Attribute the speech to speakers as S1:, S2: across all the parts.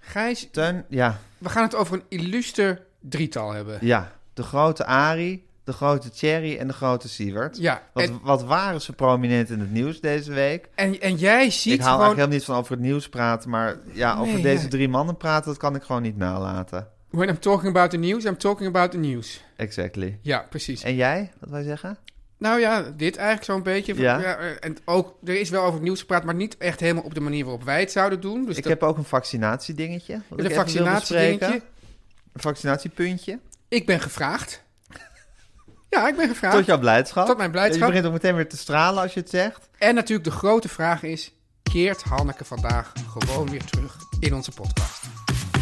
S1: Gijs,
S2: Teun, ja,
S1: we gaan het over een illuster drietal hebben.
S2: ja. De grote Arie, de grote Thierry en de grote Siewert.
S1: Ja,
S2: Wat,
S1: en-
S2: wat waren ze prominent in het nieuws deze week?
S1: En, en jij
S2: Ik
S1: ziet
S2: hou
S1: gewoon...
S2: eigenlijk helemaal niet van over het nieuws praten, maar ja, over
S1: Nee,
S2: deze
S1: ja.
S2: drie mannen praten, dat kan ik gewoon niet nalaten.
S1: When I'm talking about the news, I'm talking about the news.
S2: Exactly.
S1: Ja, precies.
S2: En jij, wat wij zeggen?
S1: Nou ja, dit eigenlijk zo'n beetje.
S2: Ja.
S1: eh, en ook, er is wel over het nieuws gepraat, maar niet echt helemaal op de manier waarop wij het zouden doen. Dus
S2: ik
S1: dat-
S2: heb ook een vaccinatiedingetje. wat
S1: een
S2: ik even wil
S1: vaccinatiedingetje.
S2: bespreken. Een vaccinatiepuntje.
S1: Ik ben gevraagd. Ja, ik ben gevraagd.
S2: Tot jouw blijdschap.
S1: Tot mijn blijdschap.
S2: Je begint ook meteen weer te stralen als je het zegt.
S1: En natuurlijk de grote vraag is, keert Hanneke vandaag gewoon weer terug in onze podcast?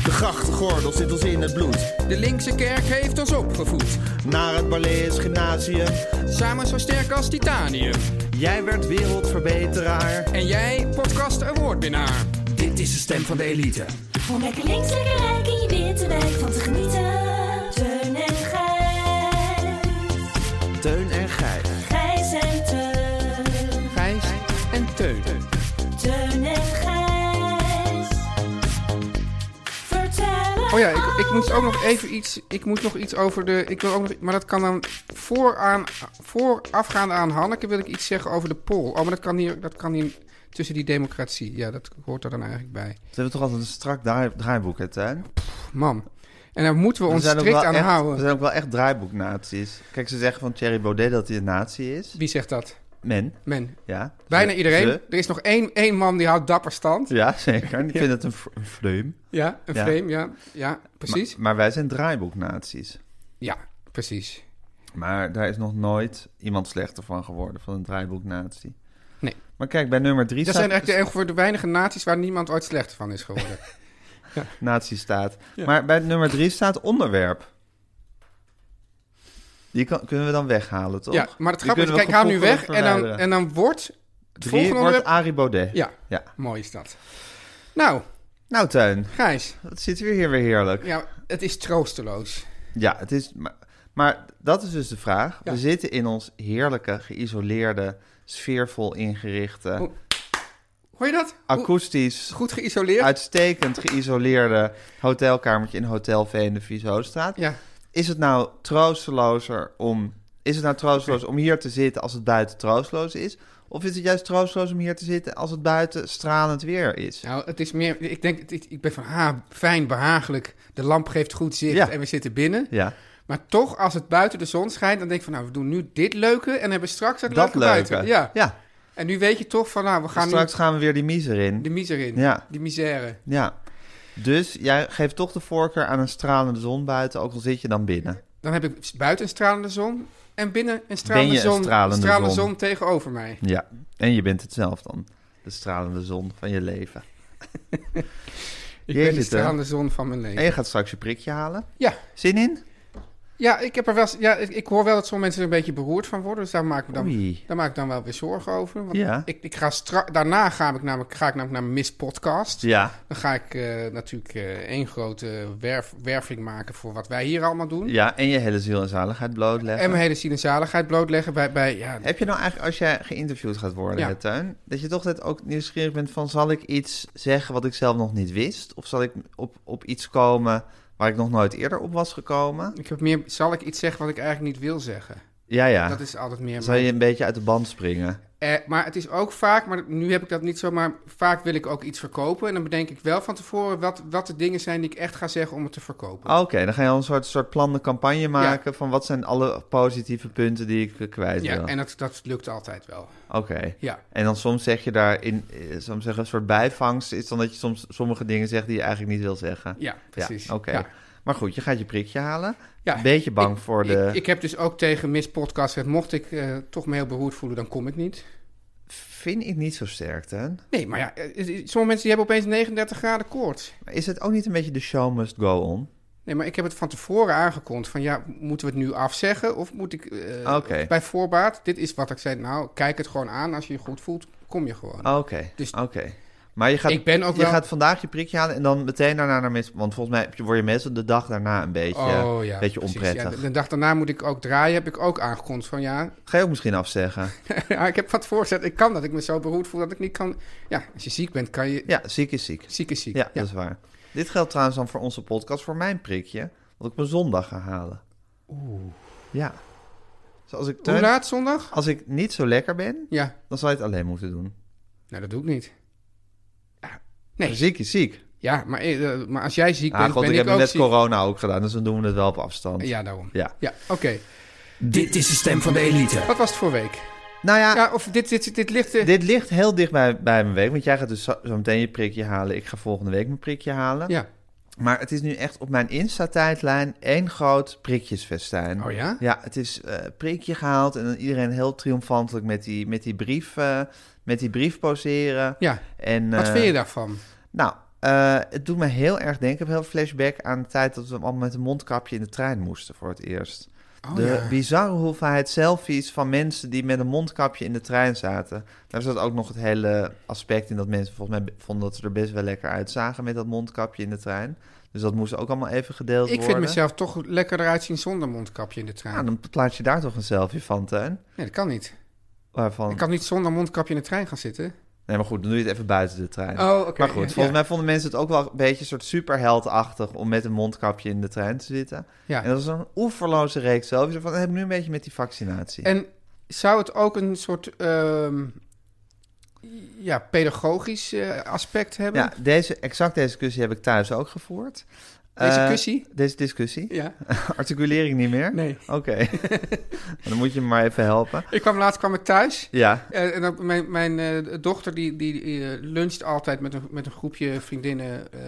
S3: De grachtgordel zit ons in het bloed.
S1: De linkse kerk heeft ons opgevoed,
S3: Naar het Balees Gymnasium.
S1: samen zo sterk als titanium.
S3: Jij werd wereldverbeteraar.
S1: En jij, podcast een woordwinnaar.
S3: Dit is de stem van de elite.
S4: Om lekker links, lekker rijk in je witte wijk van te genieten.
S3: Teun
S4: Teun en Gijs.
S3: en Gijs.
S4: Gijs en Teun.
S1: Gijs en Teun.
S4: Teun en Gijs. Vertel
S1: Oh ja, ik, ik moest ook nog e- even iets. Ik moet nog iets over de. Ik wil ook nog, maar dat kan dan vooraan, voorafgaande aan Hanneke wil ik iets zeggen over de poll. Oh, maar dat kan hier, dat kan hier tussen die democratie. Ja, dat hoort er dan eigenlijk bij.
S2: Ze hebben toch altijd een strak draai- draaiboek, hè, Tuin?
S1: Man. En daar moeten we ons strikt aan
S2: echt, we
S1: houden.
S2: zijn ook wel echt draaiboeknaties. Kijk, ze zeggen van Thierry Baudet dat hij een nazi is.
S1: Wie zegt dat?
S2: Men,
S1: Men.
S2: ja.
S1: Bijna
S2: Ze-
S1: iedereen.
S2: ze.
S1: Er is nog één, één man die houdt dapper stand. Ja,
S2: Ja, zeker. Ik vind het een, fr- een frame.
S1: een
S2: Ja.
S1: frame, ja. Ja, precies.
S2: Maar wij zijn draaiboeknaties.
S1: ja, precies.
S2: Maar daar is nog nooit iemand slechter van geworden, van een draaiboeknatie.
S1: Nee.
S2: Maar kijk, bij nummer drie
S1: Dat
S2: staat,
S1: zijn eigenlijk de, ongeveer de weinige naties waar niemand ooit slechter van is geworden.
S2: natie staat. Maar bij nummer drie staat onderwerp. Die kan, kunnen we dan weghalen, toch?
S1: Ja, maar het
S2: Die
S1: grappige is,
S2: kunnen
S1: kijk,
S2: we
S1: haal nu
S2: gevoelig
S1: weg en dan,
S2: verwijderen.
S1: en dan wordt het
S2: Drie
S1: volgende
S2: wordt
S1: onderwerp...
S2: Arie Baudet.
S1: Ja,
S2: Ja.
S1: mooi is dat. Nou,
S2: Nou, Tuin,
S1: Gijs,
S2: dat zitten we hier weer heerlijk.
S1: ja, het is troosteloos.
S2: Ja, het is. Maar, maar dat is dus de vraag.
S1: Ja.
S2: We zitten in ons heerlijke, geïsoleerde, sfeervol ingerichte,
S1: Hoe- Hoor je dat? Hoe-
S2: akoestisch,
S1: Goed geïsoleerd?
S2: uitstekend geïsoleerde hotelkamertje in Hotel V in de Vieshoofdstraat.
S1: Ja,
S2: Is het nou troostelozer om. Is het nou troosteloos om hier te zitten als het buiten troosteloos is? Of is het juist troosteloos om hier te zitten als het buiten stralend weer is?
S1: nou, het is meer... Ik denk, ik, ik ben van, ah, fijn, behagelijk. De lamp geeft goed zicht
S2: Ja.
S1: en we zitten binnen.
S2: Ja,
S1: Maar toch, als het buiten de zon schijnt, dan denk ik van... Nou, we doen nu dit leuke en hebben straks het
S2: dat
S1: leuke,
S2: leuke.
S1: buiten. Ja.
S2: ja.
S1: En nu weet je toch van, nou, we gaan
S2: Dus Straks gaan we weer die miser in.
S1: nu de miser in.
S2: Ja.
S1: Die misère.
S2: Ja. Dus jij geeft toch de voorkeur aan een stralende zon buiten, ook al zit je dan binnen.
S1: Dan heb ik buiten een stralende zon en binnen een stralende
S2: Ben je een
S1: zon.
S2: stralende
S1: stralende
S2: zon?
S1: zon tegenover mij.
S2: Ja. En je bent het zelf dan. De stralende zon van je leven.
S1: Ik
S2: Jeetje,
S1: ben de
S2: Teun.
S1: stralende zon van mijn
S2: En
S1: leven.
S2: je gaat straks je prikje halen.
S1: Ja,
S2: Zin in?
S1: ja, ik, heb er wel, eens- ja ik, ik hoor wel dat sommige mensen er een beetje beroerd van worden. Dus daar maak ik me dan,
S2: Oei.
S1: daar maak ik dan wel weer zorgen over. Want
S2: Ja.
S1: ik, ik ga stra- daarna ga ik, namelijk, ga ik namelijk naar mijn Miss Podcast.
S2: Ja.
S1: Dan ga ik eh, natuurlijk eh, één grote werf, werving maken voor wat wij hier allemaal doen.
S2: Ja, en je hele ziel en zaligheid blootleggen.
S1: En mijn hele sinaasaligheid blootleggen bij... bij ja,
S2: Heb je nou eigenlijk, als jij geïnterviewd gaat worden,
S1: Ja.
S2: hè, Tuin, dat je toch net ook nieuwsgierig bent van, zal ik iets zeggen wat ik zelf nog niet wist? Of zal ik op, op iets komen waar ik nog nooit eerder op was gekomen?
S1: ik heb meer, zal ik iets zeggen wat ik eigenlijk niet wil zeggen?
S2: Ja, ja.
S1: Dat is altijd meer...
S2: Zal je een beetje uit de band springen?
S1: Eh, maar het is ook vaak, maar nu heb ik dat niet zo, maar vaak wil ik ook iets verkopen. En dan bedenk ik wel van tevoren wat, wat de dingen zijn die ik echt ga zeggen om het te verkopen.
S2: Ah, Oké, dan ga je al een soort, soort plan de campagne maken van wat zijn alle positieve punten die ik eh, kwijt
S1: ja,
S2: wil.
S1: en dat, dat lukt altijd wel.
S2: Oké.
S1: Ja.
S2: En dan soms zeg je daar in, eh, zal ik maar zeggen, een soort bijvangst is dan dat je soms sommige dingen zegt die je eigenlijk niet wil zeggen.
S1: Ja, precies.
S2: Oké.
S1: Ja.
S2: Maar goed, je gaat je prikje halen.
S1: Ja,
S2: Een beetje bang voor de
S1: Ik, ik heb dus ook tegen Miss Podcast gezegd, mocht ik eh, toch me heel beroerd voelen, dan kom ik niet.
S2: Vind ik niet zo sterk, hè?
S1: Nee, maar ja, eh, eh, sommige mensen die hebben opeens 39 graden koorts.
S2: Maar is het ook niet een beetje de show must go on?
S1: Nee, maar ik heb het van tevoren aangekondigd van ja, moeten we het nu afzeggen of moet ik eh,
S2: Oké.
S1: bij voorbaat, dit is wat ik zei, nou kijk het gewoon aan, als je je goed voelt, kom je gewoon.
S2: Oké,
S1: Dus-
S2: oké. Maar je gaat,
S1: Ik ben ook
S2: je
S1: wel-
S2: gaat vandaag je prikje halen en dan meteen daarna naar mis... Want volgens mij heb je- word je meestal de dag daarna een beetje, beetje
S1: precies.
S2: onprettig.
S1: Oh, Ja, de, de dag daarna moet ik ook draaien, heb ik ook aangekondigd van ja,
S2: Ga je ook misschien afzeggen?
S1: ja ik heb wat voorzet, ik kan dat, ik me zo beroerd voel dat ik niet kan. Ja, als je ziek bent kan je,
S2: Ja, ziek is ziek.
S1: ziek is ziek.
S2: Ja, dat is waar. Dit geldt trouwens dan voor onze podcast, voor mijn prikje. Wat ik op een zondag ga halen. Oeh. Ja. Dus als ik,
S1: Hoe
S2: teun,
S1: laat zondag?
S2: als ik niet zo lekker ben,
S1: Ja,
S2: dan zal je het alleen moeten doen.
S1: nou dat doe ik niet. Nee.
S2: Maar Ziek is ziek.
S1: Ja, maar, eh, maar als jij ziek
S2: Ah,
S1: bent,
S2: god,
S1: ben
S2: ik
S1: ik,
S2: heb het
S1: ook
S2: met
S1: ziek.
S2: corona ook gedaan, dus dan doen we het wel op afstand.
S1: Ja, daarom.
S2: Ja.
S1: Ja, oké.
S3: Dit is de stem van de elite.
S1: Wat was het voor week?
S2: Nou ja,
S1: Ja, of dit, dit, dit ligt... eh,
S2: dit ligt heel dicht bij, bij mijn week, want jij gaat dus zo, zo meteen je prikje halen. Ik ga volgende week mijn prikje halen.
S1: Ja.
S2: Maar het is nu echt op mijn Insta-tijdlijn één groot prikjesfestijn.
S1: Oh ja?
S2: Ja, het is eh, prikje gehaald en dan iedereen heel triomfantelijk met die, met die, brief, eh, met die brief poseren.
S1: Ja.
S2: En,
S1: Wat
S2: eh,
S1: vind je daarvan?
S2: Nou, eh, het doet me heel erg denken. Ik heb heel flashback aan de tijd dat we allemaal met een mondkapje in de trein moesten voor het eerst.
S1: Oh,
S2: de
S1: ja.
S2: bizarre hoeveelheid selfies van mensen die met een mondkapje in de trein zaten. Daar zat ook nog het hele aspect in dat mensen volgens mij be- vonden dat ze er best wel lekker uitzagen met dat mondkapje in de trein. Dus dat moest ook allemaal even gedeeld
S1: Ik vind
S2: worden.
S1: mezelf toch lekkerder uitzien zonder mondkapje in de trein.
S2: Ja, dan plaats je daar toch een selfie van, Teun?
S1: Nee, dat kan niet.
S2: Waarvan...
S1: Ik kan niet zonder mondkapje in de trein gaan zitten.
S2: Nee, maar goed, dan doe je het even buiten de trein.
S1: Oh, oké,
S2: Maar goed,
S1: ja,
S2: volgens
S1: ja.
S2: mij vonden mensen het ook wel een beetje een soort superheldachtig om met een mondkapje in de trein te zitten.
S1: Ja.
S2: En dat is een oeverloze reeks zelf. Van, heb nu een beetje met die vaccinatie.
S1: En zou het ook een soort ehm, ja, pedagogisch eh, aspect hebben?
S2: Ja, deze, exact deze discussie heb ik thuis ook gevoerd.
S1: Deze
S2: Eh,
S1: kussie?
S2: Deze discussie?
S1: Ja.
S2: Articulering niet meer?
S1: Nee.
S2: Oké. dan moet je me maar even helpen.
S1: Ik kwam laatst kwam ik thuis.
S2: Ja.
S1: Eh, en dan mijn mijn eh, dochter die, die eh, luncht altijd met een, met een groepje vriendinnen. eh,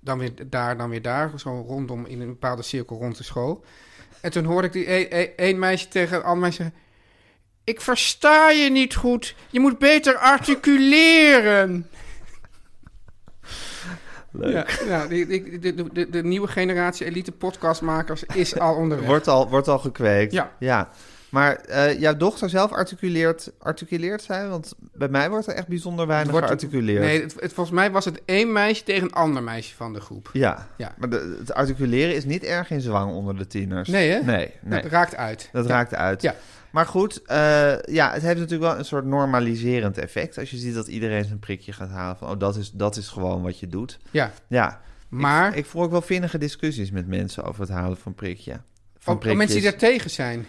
S1: dan weer daar, dan weer daar. Zo rondom in een bepaalde cirkel rond de school. En toen hoorde ik die e- e- één meisje tegen een ander meisje zeggen... Ik versta je niet goed. Je moet beter articuleren. Leuk. Ja, ja, die- die- de, de, de, de nieuwe generatie elite podcastmakers is al onderweg.
S2: Wordt al, wordt al gekweekt.
S1: Ja.
S2: Maar eh, jouw dochter zelf articuleert, articuleert zij? Want bij mij wordt er echt bijzonder weinig
S1: Wordt-
S2: gearticuleerd.
S1: Nee, het, het- volgens mij was het één meisje tegen een ander meisje van de groep.
S2: Ja.
S1: Ja.
S2: Maar de- het articuleren is niet erg in zwang onder de tieners.
S1: Nee, hè?
S2: Nee, nee.
S1: Dat raakt uit.
S2: Dat raakt uit.
S1: Ja.
S2: Maar goed, eh, ja, het heeft natuurlijk wel een soort normaliserend effect. Als je ziet dat iedereen zijn prikje gaat halen van... oh, dat is, dat is gewoon wat je doet.
S1: Ja.
S2: Ja,
S1: Maar
S2: ik voer ook wel vinnige discussies met mensen over het halen van prikje. Van
S1: ook, ook Oh, mensen die
S2: prikjes.
S1: daar tegen zijn.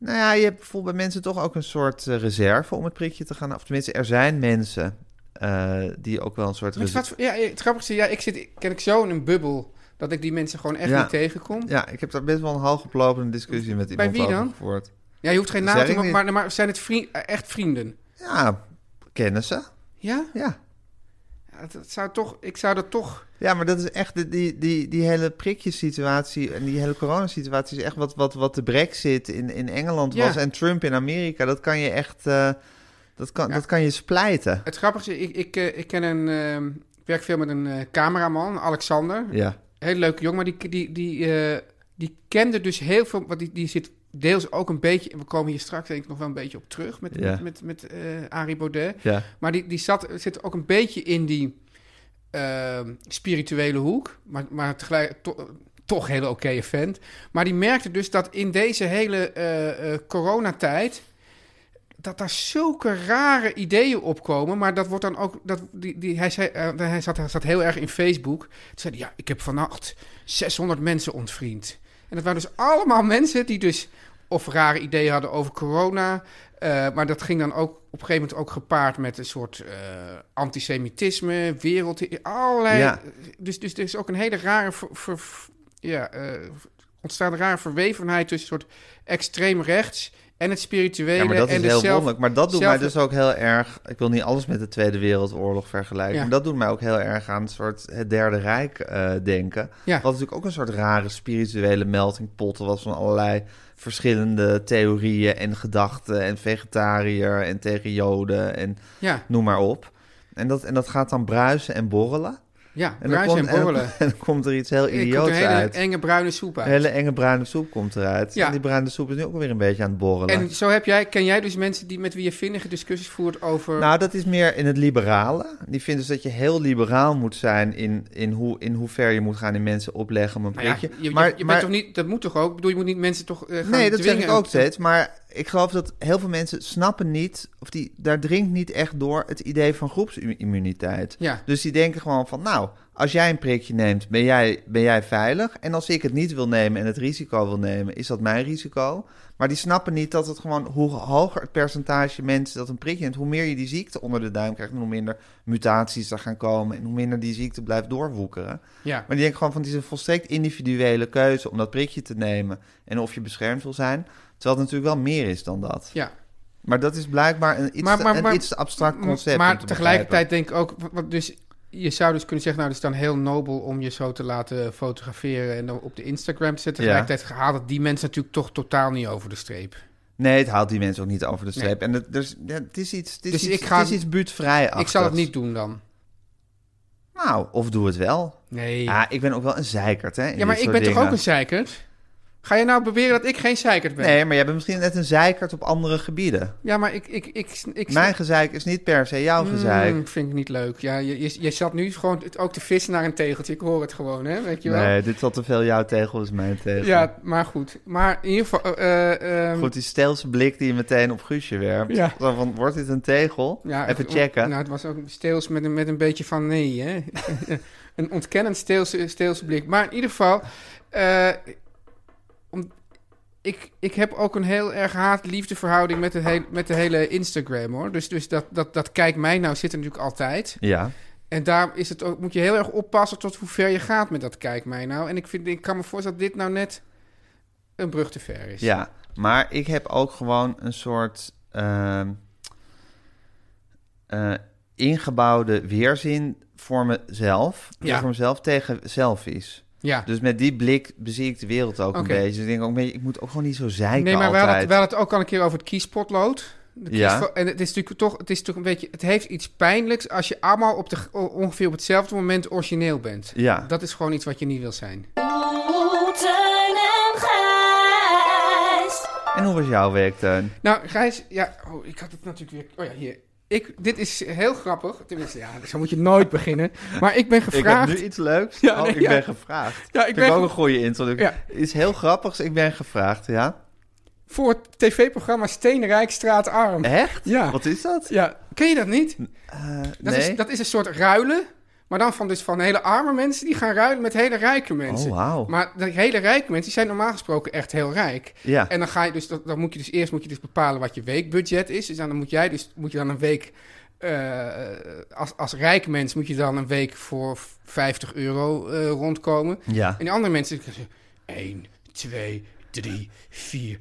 S2: Nou ja, je hebt voelt bij mensen toch ook een soort eh, reserve om het prikje te gaan... of tenminste, er zijn mensen eh, die ook wel een soort...
S1: Maar
S2: reserve.
S1: het gaat- ja, eh, het grappige is, ja, ik zit ken ik zo in een bubbel dat ik die mensen gewoon echt
S2: Ja.
S1: niet tegenkom. Ja.
S2: Ja, ik heb daar best wel een halfgeplopende discussie met iemand
S1: wie
S2: over
S1: dan?
S2: gevoerd.
S1: je hoeft geen
S2: Dat
S1: naam te
S2: zeg ik
S1: noemen, maar, maar zijn het vriend, echt vrienden?
S2: Ja, kennissen.
S1: Ja?
S2: Ja.
S1: Ja, Dat zou toch, ik zou dat toch...
S2: Ja, maar dat is echt de- die, die, die hele prikjesituatie en die hele coronasituatie is echt wat, wat, wat de brexit in, in Engeland
S1: Ja.
S2: was en Trump in Amerika. Dat kan je echt, eh, dat, kan,
S1: Ja.
S2: dat kan je splijten.
S1: Het grappige is, ik, ik, eh, ik ken een... ehm, ik werk veel met een eh, cameraman, Alexander.
S2: Ja.
S1: Heel leuke jong, maar die, die, die, eh, die kende dus heel veel... Want die, die zit deels ook een beetje... We komen hier straks denk ik nog wel een beetje op terug met,
S2: Ja.
S1: met, met, met eh, Arie Baudet.
S2: Ja.
S1: Maar die, die zat, zit ook een beetje in die ehm, spirituele hoek. Maar, maar tegelijk to- toch een hele oké vent. Maar die merkte dus dat in deze hele eh, eh, coronatijd... dat daar zulke rare ideeën opkomen. Maar dat wordt dan ook... Dat, die, die, hij, zei, eh, hij, zat, hij zat heel erg in Facebook. Toen zei hij, ja, ik heb vannacht 600 mensen ontvriend. En dat waren dus allemaal mensen die dus Of rare ideeën hadden over corona. Eh, maar dat ging dan ook op een gegeven moment ook gepaard met een soort eh, antisemitisme, wereld. Allerlei.
S2: Ja.
S1: Dus, dus er is ook een hele rare. ver- ver- ver- ja, eh, ontstaat een rare verwevenheid tussen een soort extreem rechts en het spirituele.
S2: Ja, maar dat
S1: en
S2: is
S1: de
S2: heel
S1: zelf-
S2: wonderlijk. Maar dat doet
S1: zelf-
S2: mij dus ook heel erg... Ik wil niet alles met de Tweede Wereldoorlog vergelijken...
S1: Ja.
S2: maar dat doet mij ook heel erg aan een soort het Derde Rijk eh, denken.
S1: Ja.
S2: Wat natuurlijk ook een soort rare spirituele meltingpot was... van allerlei verschillende theorieën en gedachten... en vegetariër en tegen joden en
S1: Ja,
S2: noem maar op. En dat, en dat gaat dan bruisen en borrelen.
S1: ja
S2: En
S1: bruis
S2: dan
S1: en
S2: komt, en dan-
S1: borrelen.
S2: En, dan komt er iets heel
S1: Er komt
S2: idioots
S1: een hele
S2: uit.
S1: enge bruine soep uit.
S2: Een hele enge bruine soep komt eruit.
S1: Ja.
S2: En die bruine soep is nu ook weer een beetje aan het borrelen.
S1: En zo heb jij, ken jij dus mensen die, met wie je vinnige discussies voert over...
S2: Nou, dat is meer in het liberale. Die vinden dus dat je heel liberaal moet zijn in, in, hoe, in hoe ver je moet gaan in mensen opleggen om een
S1: Nou ja,
S2: prikje.
S1: je, je-
S2: maar,
S1: je bent
S2: maar-
S1: toch niet, dat moet toch ook? Ik bedoel, je moet niet mensen toch eh, gaan
S2: nee, dat
S1: dwingen.
S2: zeg ik ook steeds. Maar ik geloof dat heel veel mensen snappen niet, of die, daar dringt niet echt door het idee van groepsimmuniteit.
S1: Ja.
S2: Dus die denken gewoon van, nou, als jij een prikje neemt, ben jij, ben jij veilig. En als ik het niet wil nemen en het risico wil nemen, is dat mijn risico. Maar die snappen niet dat het gewoon, hoe hoger het percentage mensen dat een prikje neemt, hoe meer je die ziekte onder de duim krijgt en hoe minder mutaties er gaan komen en hoe minder die ziekte blijft doorwoekeren.
S1: Ja.
S2: Maar die denken gewoon van, het is een volstrekt individuele keuze om dat prikje te nemen en of je beschermd wil zijn. Terwijl het natuurlijk wel meer is dan dat.
S1: ja.
S2: Maar dat is blijkbaar een iets,
S1: Maar-
S2: te-
S1: maar- maar-
S2: een iets te abstract concept. om
S1: Maar
S2: te
S1: tegelijkertijd denk ik ook... wa- wa- Dus je zou dus kunnen zeggen, nou, het is dan heel nobel om je zo te laten fotograferen en dan op de Instagram te zetten.
S2: Ja.
S1: Tegelijkertijd haalt het die mensen natuurlijk toch totaal niet over de streep.
S2: Nee, het haalt die mensen ook niet over de streep. En het, dus, ja, het is iets, het is
S1: Dus
S2: iets,
S1: ik ga-
S2: het is iets buurtvrij
S1: Ik zal het niet doen dan.
S2: Nou, of doe het wel.
S1: Nee.
S2: Ja, ik ben ook wel een zeikert, hè? in
S1: ja, maar
S2: Ah, dit
S1: ik ben
S2: soort
S1: toch
S2: dingen.
S1: ook een zeikert? Ga je nou beweren dat ik geen zeikert ben?
S2: Nee, maar jij bent misschien net een zeikert op andere gebieden.
S1: Ja, maar ik... ik, ik, ik, ik
S2: Mijn gezeik is niet per se jouw gezeik.
S1: Mm, vind ik niet leuk. Ja, je, je, je zat nu gewoon het, ook te vissen naar een tegeltje. Ik hoor het gewoon, hè? Weet je wel?
S2: Nee, dit zat te veel jouw tegel is mijn tegel.
S1: Ja, maar goed. Maar in ieder geval... eh, eh, ehm,
S2: Goed, die steelse blik die je meteen op Guusje werpt.
S1: Ja.
S2: Zo van, wordt dit een tegel?
S1: ja,
S2: Even
S1: het-
S2: checken.
S1: Nou, het was ook steels met een, met een beetje van nee, hè? een ontkennend steels, steels blik. Maar in ieder geval... eh, om, ik, ik heb ook een heel erg haat-liefde verhouding met, het heel, met de hele Instagram, hoor. Dus, dus dat, dat, dat kijk mij nou zit er natuurlijk altijd.
S2: Ja.
S1: En daar is het ook, moet je heel erg oppassen tot hoe ver je gaat met dat kijk mij nou. En ik, vind, ik kan me voorstellen dat dit nou net een brug te ver is.
S2: Ja, maar ik heb ook gewoon een soort ehm, eh, ingebouwde weerzin voor mezelf, Dus
S1: Ja.
S2: voor mezelf tegen selfies.
S1: ja.
S2: Dus met die blik bezie ik de wereld ook
S1: Oké.
S2: een beetje. Dus ik denk ook, nee, ik moet ook gewoon niet zo zeiken
S1: Nee, maar we hadden,
S2: altijd.
S1: het, we hadden het ook al een keer over het kiespotlood. De
S2: Ja.
S1: kiesvo- En het is natuurlijk toch, het is natuurlijk een beetje, het heeft iets pijnlijks als je allemaal op de, g- o- ongeveer op hetzelfde moment origineel bent.
S2: Ja.
S1: Dat is gewoon iets wat je niet wil zijn.
S4: Oeh, Teun en Gijs.
S2: En hoe was jouw week, Teun?
S1: Nou, Gijs, ja, oh, ik had het natuurlijk weer. Oh ja, hier. Ik, dit is heel grappig. Tenminste, ja, zo moet je nooit beginnen. Maar ik ben
S2: Ik heb
S1: gevraagd.
S2: nu iets leuks.
S1: Ja,
S2: oh,
S1: nee,
S2: ik
S1: ja.
S2: ben gevraagd.
S1: Ja, ik
S2: Vind
S1: ben
S2: ook
S1: ge-
S2: een goede introductie.
S1: Ja.
S2: Is heel grappig, ik ben gevraagd, ja.
S1: voor het tv-programma Steenrijkstraat Arm.
S2: Echt?
S1: Ja.
S2: Wat is dat?
S1: Ja, ken je dat niet?
S2: Eh,
S1: Dat,
S2: nee?
S1: is, dat is een soort ruilen. Maar dan van, dus van hele arme mensen, die gaan ruilen met hele rijke mensen.
S2: Oh, wauw.
S1: Maar de hele rijke mensen, die zijn normaal gesproken echt heel rijk.
S2: Ja.
S1: En dan ga je dus, dat- dan moet je dus eerst moet je dus bepalen wat je weekbudget is. Dus dan moet jij dus, moet je dan een week, eh, als, als rijk mens moet je dan een week voor 50 euro eh, rondkomen.
S2: Ja.
S1: En die andere mensen zeggen, 1, 2, 3, 4,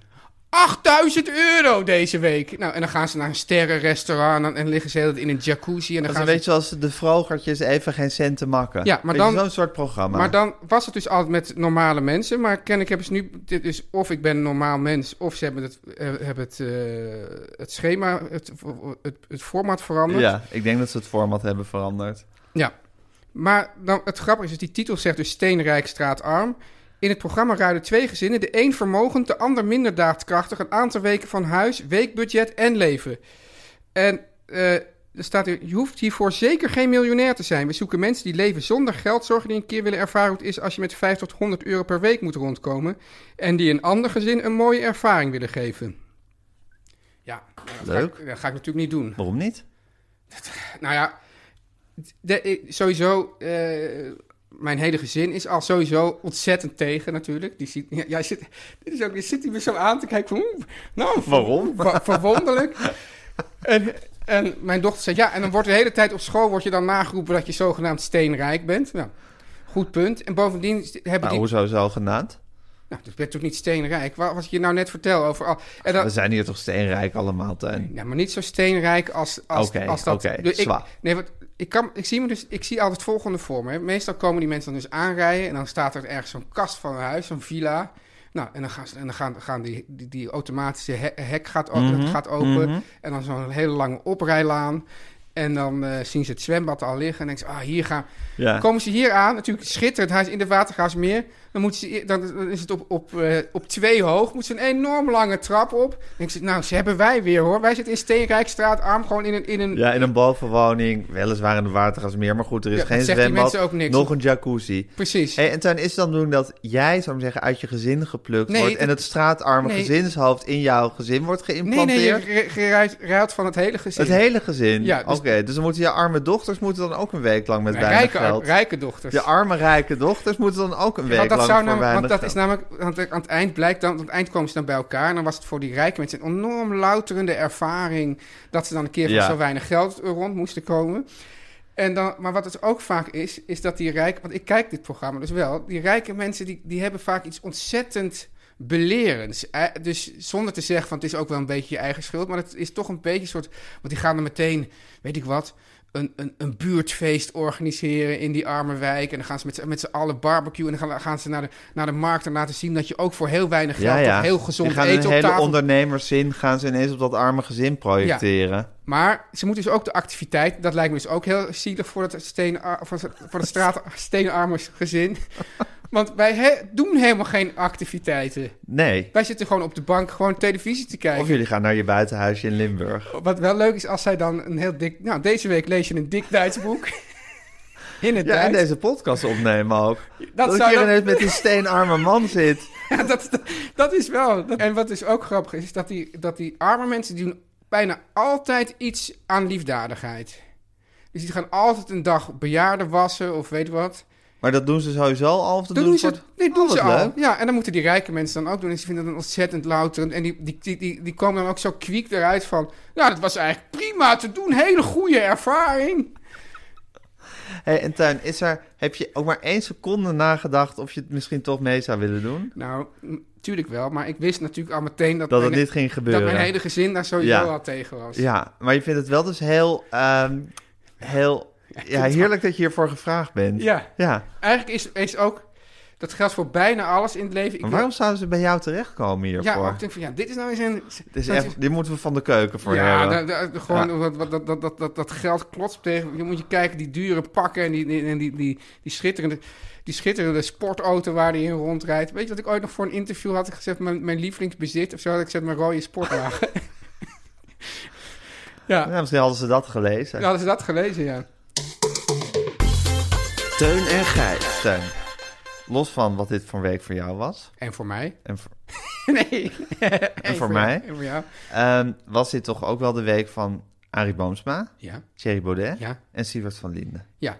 S1: 8000 euro deze week. Nou, en dan gaan ze naar een sterrenrestaurant en, en liggen ze de hele tijd in een jacuzzi. En dan
S2: Dat is
S1: gaan
S2: een
S1: ze,
S2: beetje zoals de vrogertjes even geen cent te makken.
S1: Ja, maar
S2: Weet je,
S1: dan-
S2: Zo'n soort programma.
S1: Maar dan was het dus altijd met normale mensen. Maar kennelijk hebben ze nu... Dit is of ik ben een normaal mens... of ze hebben het, eh, hebben het, eh, het schema, het, het, het format veranderd.
S2: Ja, ik denk dat ze het format hebben veranderd.
S1: Ja. Maar dan, het grappige is, dus die titel zegt dus steenrijk, straatarm. In het programma ruilen twee gezinnen, de een vermogend, de ander minder daadkrachtig, een aantal weken van huis, weekbudget en leven. En eh, er staat hier, je hoeft hiervoor zeker geen miljonair te zijn. We zoeken mensen die leven zonder geldzorgen, die een keer willen ervaren hoe het is als je met 5 tot 100 euro per week moet rondkomen. En die een ander gezin een mooie ervaring willen geven. Ja, dat ga ik-
S2: Leuk.
S1: dat ga ik natuurlijk niet doen.
S2: Waarom niet?
S1: Nou ja, de, eh, sowieso eh, mijn hele gezin is al sowieso ontzettend tegen natuurlijk. Die ziet, ja, jij zit, dit is ook, je zit hier weer zo aan te kijken. van, oeh, nou,
S2: Waarom?
S1: wa- verwonderlijk. en, en mijn dochter zei, ja, en dan wordt de hele tijd op school wordt je dan nageroepen dat je zogenaamd steenrijk bent. Nou, goed punt. En bovendien hebben
S2: Nou,
S1: die...
S2: hoezo zogenaamd?
S1: Nou, dat werd toch niet steenrijk? Wa- Wat ik je nou net vertel over... al- En
S2: We
S1: dan,
S2: zijn hier toch steenrijk allemaal, Teun?
S1: ja, maar niet zo steenrijk als, als,
S2: Oké,
S1: als dat.
S2: oké,
S1: Dus ik,
S2: zwaar.
S1: nee, want ik, kan, ik, zie me dus, ik zie altijd het volgende voor me. hè. Meestal komen die mensen dan dus aanrijden en dan staat er ergens zo'n kast van een huis, zo'n villa. Nou, en dan gaan, ze- en dan gaan, gaan die, die, die automatische he- hek gaat, o-
S2: Mhm,
S1: dat gaat open. En dan zo'n hele lange oprijlaan. En dan eh, zien ze het zwembad al liggen en denken ze, ah, hier gaan...
S2: Ja.
S1: Komen ze hier aan, natuurlijk schitterend, hij is in de Watergraafsmeer. Dan, moeten ze, dan dan is het op, op, eh, op twee hoog, moeten ze een enorm lange trap op. Dan denk ze, nou, ze hebben wij weer hoor. Wij zitten in Steenrijkstraat, arm gewoon in een... In een
S2: Ja, in een bovenwoning, weliswaar in de watergasmeer, maar goed, er is
S1: Ja,
S2: geen
S1: dat zegt die
S2: zwembad,
S1: mensen ook niks.
S2: nog een jacuzzi.
S1: Precies.
S2: Hey, en Tuin, is het dan doen dat jij, zou ik zeggen, uit je gezin geplukt
S1: Nee,
S2: wordt en
S1: dat-
S2: het straatarme
S1: nee.
S2: gezinshoofd in jouw gezin wordt
S1: nee,
S2: geïmplanteerd?
S1: nee, je ru- je ruilt- ruilt van het hele gezin.
S2: Het hele gezin?
S1: Ja, dus-
S2: Oké, dus dan moeten je arme dochters moeten dan ook een week lang met
S1: Ja,
S2: weinig
S1: rijke,
S2: geld.
S1: rijke dochters.
S2: Je arme rijke dochters moeten dan ook een week
S1: want dat,
S2: lang
S1: zou
S2: voor
S1: namelijk- want
S2: weinig
S1: dat is
S2: geld.
S1: namelijk, want aan het eind blijkt dan, aan het eind komen ze dan bij elkaar. En dan was het voor die rijke mensen een enorm louterende ervaring. dat ze dan een keer van
S2: Ja.
S1: zo weinig geld rond moesten komen. En dan, maar wat het ook vaak is, is dat die rijke. Want ik kijk dit programma dus wel. Die rijke mensen die, die hebben vaak iets ontzettend belerends. Eh, Dus zonder te zeggen van het is ook wel een beetje je eigen schuld. Maar het is toch een beetje een soort. Want die gaan dan meteen, weet ik wat. Een, een, een buurtfeest organiseren in die arme wijk. En dan gaan ze met, z'n- met z'n allen barbecue. En dan gaan, gaan ze naar de, naar de markt en laten zien dat je ook voor heel weinig geld.
S2: ja, ja.
S1: toch heel gezond
S2: Die gaan
S1: eten
S2: een
S1: op
S2: hele
S1: tafel
S2: ondernemerszin gaan ze ineens op dat arme gezin projecteren.
S1: maar ze moeten dus ook de activiteit, dat lijkt me dus ook heel zielig voor het, steen, ah, voor het, voor het straat, steenarme gezin. Want wij he- doen helemaal geen activiteiten.
S2: Nee.
S1: Wij zitten gewoon op de bank gewoon televisie te kijken.
S2: Of jullie gaan naar je buitenhuisje in Limburg.
S1: Wat wel leuk is als zij dan een heel dik... Nou, deze week lees je een dik Duits boek. In het
S2: Ja, en
S1: Duits.
S2: deze podcast opnemen ook. Dat, ik
S1: zou
S2: hier
S1: dan-
S2: ineens met die steenarme man zit.
S1: Ja, dat, dat- dat is wel. dat- en wat dus ook grappig is, is dat die, dat die arme mensen die doen bijna altijd iets aan liefdadigheid. Dus die gaan altijd een dag bejaarden wassen of weet wat.
S2: Maar dat doen ze sowieso al. Of dat
S1: Dat doen ze,
S2: voor-
S1: nee, doen
S2: Oh,
S1: ze
S2: wat
S1: al.
S2: leuk.
S1: Ja, en dan moeten die rijke mensen dan ook doen. En ze vinden dat ontzettend louterend. En die, die, die, die, die komen dan ook zo kwiek eruit van... Nou, dat was eigenlijk prima te doen. Hele goede ervaring.
S2: Hey, en Tuin, is er, heb je ook maar één seconde nagedacht of je het misschien toch mee zou willen doen?
S1: Nou, m- tuurlijk wel. Maar ik wist natuurlijk al meteen dat...
S2: Dat het
S1: mijn-
S2: dit ging
S1: dat
S2: gebeuren.
S1: mijn hele gezin daar sowieso
S2: Ja.
S1: al tegen was.
S2: Ja, maar je vindt het wel dus heel, ehm, heel ja, heerlijk dat je hiervoor gevraagd bent.
S1: Ja.
S2: ja.
S1: Eigenlijk is, is ook... Dat geldt voor bijna alles in het leven. Ik
S2: Maar waarom zouden ze bij jou terechtkomen
S1: wil-
S2: hiervoor?
S1: Ja, ook ik denk van... Ja, dit is nou eens een...
S2: Het is echt, dit moeten we van de keuken voor
S1: Ja,
S2: hebben.
S1: da- da- gewoon wat- wat- Dat, dat, dat, dat, dat geld klotst tegen. Je moet je kijken, die dure pakken en die, die, en die, die, die, schitterende, die schitterende sportauto waar hij in rondrijdt. Weet je wat ik ooit nog voor een interview had gezegd? Mijn, mijn lievelingsbezit of zo had ik gezegd, mijn rode sportwagen. ja,
S2: Ja, misschien hadden ze dat gelezen.
S1: hadden ze dat gelezen, ja.
S2: Teun en Gijs. Teun, los van wat dit voor een week voor jou was...
S1: En voor mij?
S2: En voor,
S1: nee. en, jou.
S2: voor mij?
S1: En voor jou?
S2: ehm, was dit toch ook wel de week van Arie Boomsma,
S1: Ja,
S2: Thierry Baudet
S1: ja,
S2: en Sievert van Linden.
S1: ja.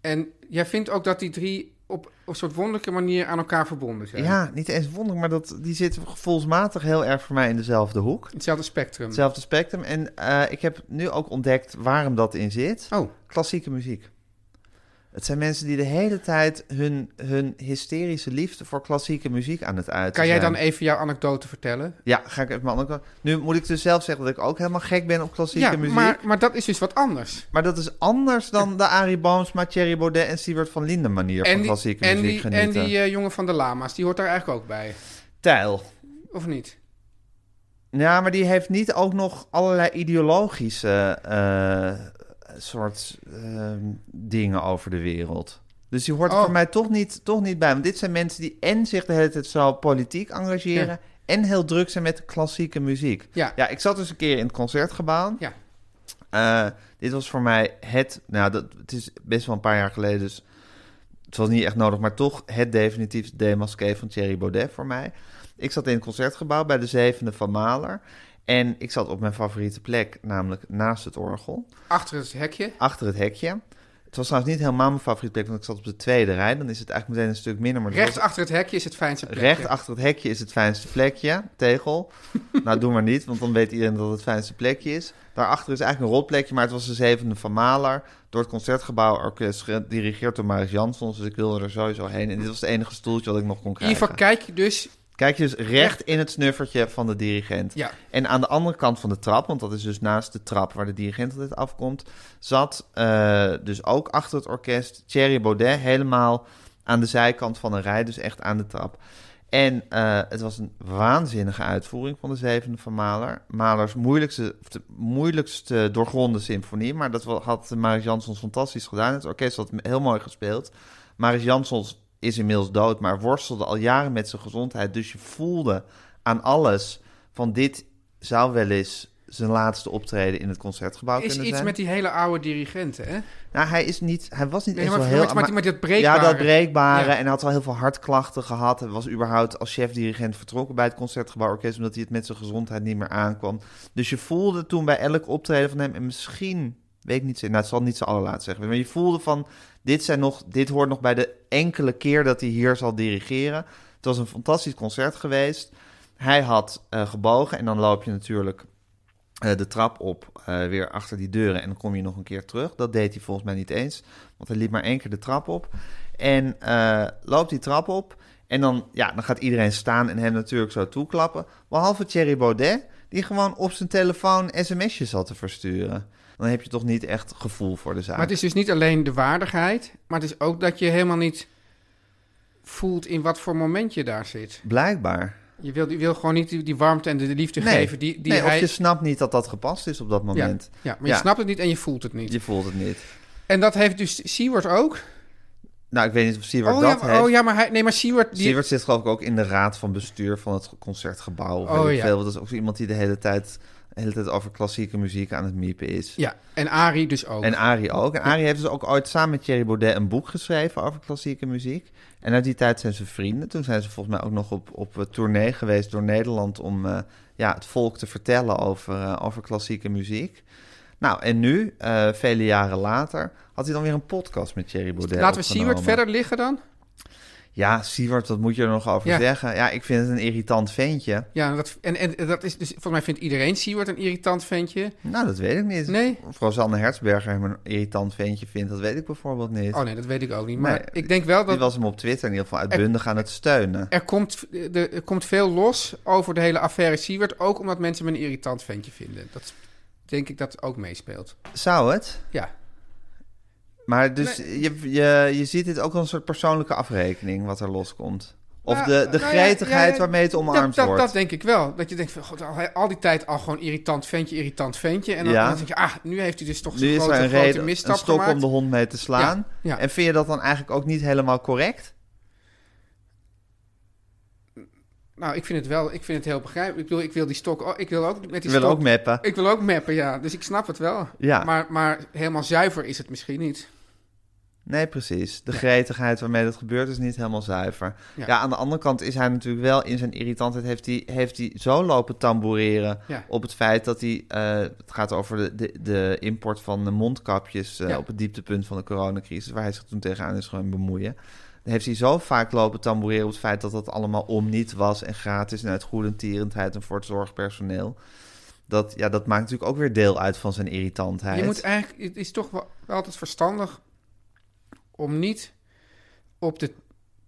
S1: En jij vindt ook dat die drie op, op een soort wonderlijke manier aan elkaar verbonden
S2: Ja,
S1: zijn?
S2: niet eens wonderlijk, maar dat, die zitten gevoelsmatig heel erg voor mij in dezelfde hoek.
S1: Hetzelfde spectrum.
S2: Hetzelfde spectrum. En eh, ik heb nu ook ontdekt waarom dat in zit.
S1: Oh,
S2: Klassieke muziek. Het zijn mensen die de hele tijd hun, hun hysterische liefde voor klassieke muziek aan het uiten
S1: kan jij
S2: zijn.
S1: dan even jouw anekdote vertellen?
S2: Ja, ga ik even mijn andere... Nu moet ik dus zelf zeggen dat ik ook helemaal gek ben op klassieke
S1: ja,
S2: muziek.
S1: Maar, maar dat is dus wat anders.
S2: Maar dat is anders dan de Arie Boomsma, Thierry Baudet en Siewert van Linden manier van klassieke
S1: en
S2: muziek
S1: die,
S2: genieten.
S1: en die eh, jongen van de lama's, die hoort daar eigenlijk ook bij.
S2: Tijl.
S1: Of niet?
S2: Ja, maar die heeft niet ook nog allerlei ideologische eh, soort ehm, dingen over de wereld. Dus die hoort er
S1: Oh.
S2: voor mij toch niet, toch niet bij. Want dit zijn mensen die en zich de hele tijd zo politiek engageren...
S1: Ja.
S2: en heel druk zijn met klassieke muziek.
S1: Ja.
S2: ja, ik zat dus een keer in het concertgebouw.
S1: Ja.
S2: Eh, dit was voor mij het, nou, dat, het is best wel een paar jaar geleden, dus het was niet echt nodig, maar toch het definitief demasqué van Thierry Baudet voor mij. Ik zat in het concertgebouw bij de zevende van Maler en ik zat op mijn favoriete plek, namelijk naast het orgel,
S1: Achter het hekje.
S2: achter het hekje. Het was trouwens niet helemaal mijn favoriete plek, want ik zat op de tweede rij. Dan is het eigenlijk meteen een stuk minder. Maar dat
S1: Rechts
S2: was-
S1: achter het hekje is het fijnste plekje.
S2: Recht achter het hekje is het fijnste plekje, tegel. nou, doe maar niet, want dan weet iedereen dat het het fijnste plekje is. Daarachter is eigenlijk een rotplekje, maar het was de zevende van Maler. Door het Concertgebouw Orkest, gedirigeerd door Maris Jansons. Dus ik wilde er sowieso heen. En dit was het enige stoeltje dat ik nog kon
S1: In ieder
S2: krijgen.
S1: geval kijk je dus...
S2: Kijk je dus recht in het snuffertje van de dirigent.
S1: Ja.
S2: En aan de andere kant van de trap, want dat is dus naast de trap waar de dirigent altijd afkomt, zat eh, dus ook achter het orkest Thierry Baudet helemaal aan de zijkant van een rij, dus echt aan de trap. En eh, het was een waanzinnige uitvoering van de zevende van Mahler. Mahlers moeilijkste, of de moeilijkste doorgronde symfonie, maar dat wa- had Maris Jansons fantastisch gedaan. Het orkest had heel mooi gespeeld. Maris Jansons is inmiddels dood, maar worstelde al jaren met zijn gezondheid. Dus je voelde aan alles van dit zou wel eens zijn laatste optreden in het concertgebouw
S1: is
S2: kunnen
S1: iets
S2: zijn.
S1: met die hele oude dirigenten, hè?
S2: Nou, hij is niet, hij was niet
S1: Nee,
S2: echt
S1: maar,
S2: zo
S1: maar,
S2: heel.
S1: maar, maar dat breekbare.
S2: Ja, dat breekbare.
S1: Ja.
S2: En hij had wel heel veel hartklachten gehad. Hij was überhaupt als chef-dirigent vertrokken bij het Concertgebouworkest... omdat hij het met zijn gezondheid niet meer aankwam. Dus je voelde toen bij elk optreden van hem... en misschien, weet ik niet zeker, nou, het zal niet zijn allerlaatst zeggen... maar je voelde van, dit, zijn nog, dit hoort nog bij de enkele keer dat hij hier zal dirigeren. Het was een fantastisch concert geweest. Hij had eh, gebogen en dan loop je natuurlijk... eh, de trap op, eh, weer achter die deuren en dan kom je nog een keer terug. Dat deed hij volgens mij niet eens, want hij liep maar één keer de trap op. En eh, loopt die trap op. En dan, ja, dan gaat iedereen staan en hem natuurlijk zo toeklappen. Behalve Thierry Baudet, die gewoon op zijn telefoon sms'jes zat te versturen. Dan heb je toch niet echt gevoel voor de zaak.
S1: Maar het is dus niet alleen de waardigheid, maar het is ook dat je helemaal niet voelt in wat voor moment je daar zit.
S2: Blijkbaar.
S1: Je wil, je wil gewoon niet die, die warmte en de liefde geven die, die
S2: nee,
S1: hij...
S2: of je snapt niet dat dat gepast is op dat
S1: ja,
S2: moment.
S1: ja, maar je snapt het niet en je voelt het niet.
S2: Je voelt het niet.
S1: En dat heeft dus Seward ook.
S2: Nou, ik weet niet of Siewert
S1: Oh
S2: dat
S1: ja,
S2: heeft.
S1: oh ja, maar hij... Nee, maar Seward... Die,
S2: Siewert zit geloof ik ook in de raad van bestuur van het concertgebouw.
S1: Oh,
S2: weet ik
S1: ja.
S2: veel. Dat is ook zo iemand die de hele tijd, de hele tijd over klassieke muziek aan het miepen is.
S1: Ja, en Ari dus ook.
S2: En Arie ook. En Arie heeft dus ook ooit samen met Thierry Baudet een boek geschreven over klassieke muziek. En uit die tijd zijn ze vrienden. Toen zijn ze volgens mij ook nog op, op eh, tournee geweest door Nederland om eh, ja, het volk te vertellen over, eh, over klassieke muziek. Nou, en nu, eh, vele jaren later, had hij dan weer een podcast met Thierry Baudet.
S1: Dus Laten we
S2: opgenomen.
S1: Seward verder liggen dan?
S2: Ja, Siewert, wat moet je er nog over
S1: Ja.
S2: zeggen? Ja, ik vind het een irritant ventje.
S1: Ja, dat, en, en dat is dus... Volgens mij vindt iedereen Seward een irritant ventje.
S2: Nou, dat weet ik niet.
S1: Nee?
S2: Of Rosanne Hertzberger hem een irritant ventje vindt, dat weet ik bijvoorbeeld niet.
S1: Oh nee, dat weet ik ook niet. Maar
S2: Nee,
S1: ik denk wel
S2: Die
S1: dat...
S2: was hem op Twitter in ieder geval uitbundig aan het steunen.
S1: Er komt, de, er komt veel los over de hele affaire Siewert. Ook omdat mensen me een irritant ventje vinden. Dat is- denk ik dat ook meespeelt.
S2: Zou het?
S1: Ja.
S2: Maar dus je, je, je ziet dit ook als een soort persoonlijke afrekening wat er loskomt. Of
S1: Nou,
S2: de, de
S1: nou ja,
S2: gretigheid
S1: ja, ja,
S2: waarmee het
S1: Dat,
S2: omarmd
S1: dat,
S2: wordt.
S1: dat denk ik wel. Dat je denkt, van, god, al, al die tijd al gewoon irritant ventje, irritant ventje. En dan,
S2: Ja.
S1: dan denk je, ah, nu heeft hij dus toch zo'n
S2: nu is er
S1: grote,
S2: een
S1: grote
S2: reden, een
S1: misstap
S2: stok
S1: gemaakt.
S2: om de hond mee te slaan.
S1: Ja, ja.
S2: En vind je dat dan eigenlijk ook niet helemaal correct?
S1: Nou, ik vind het wel, ik vind het heel begrijpelijk. Ik bedoel, ik wil die stok, oh, ik wil ook met
S2: Je
S1: die
S2: wil
S1: stok...
S2: ook meppen.
S1: ik wil ook mappen, ja. Dus ik snap het wel.
S2: Ja.
S1: Maar, maar helemaal zuiver is het misschien niet.
S2: Nee, precies. De gretigheid waarmee dat gebeurt is niet helemaal zuiver. Ja.
S1: Ja.
S2: aan de andere kant is hij natuurlijk wel in zijn irritantheid... heeft hij, heeft hij zo lopen tamboureren
S1: Ja.
S2: op het feit dat hij... eh, het gaat over de, de, de import van de mondkapjes eh,
S1: Ja.
S2: op het dieptepunt van de coronacrisis... waar hij zich toen tegenaan is gaan bemoeien. Dan heeft hij zo vaak lopen tamboureren op het feit dat dat allemaal om niet was... en gratis en uit goedentierendheid en voor het zorgpersoneel... Dat, ja, dat maakt natuurlijk ook weer deel uit van zijn irritantheid.
S1: Je moet eigenlijk, het is toch wel, wel altijd verstandig om niet op de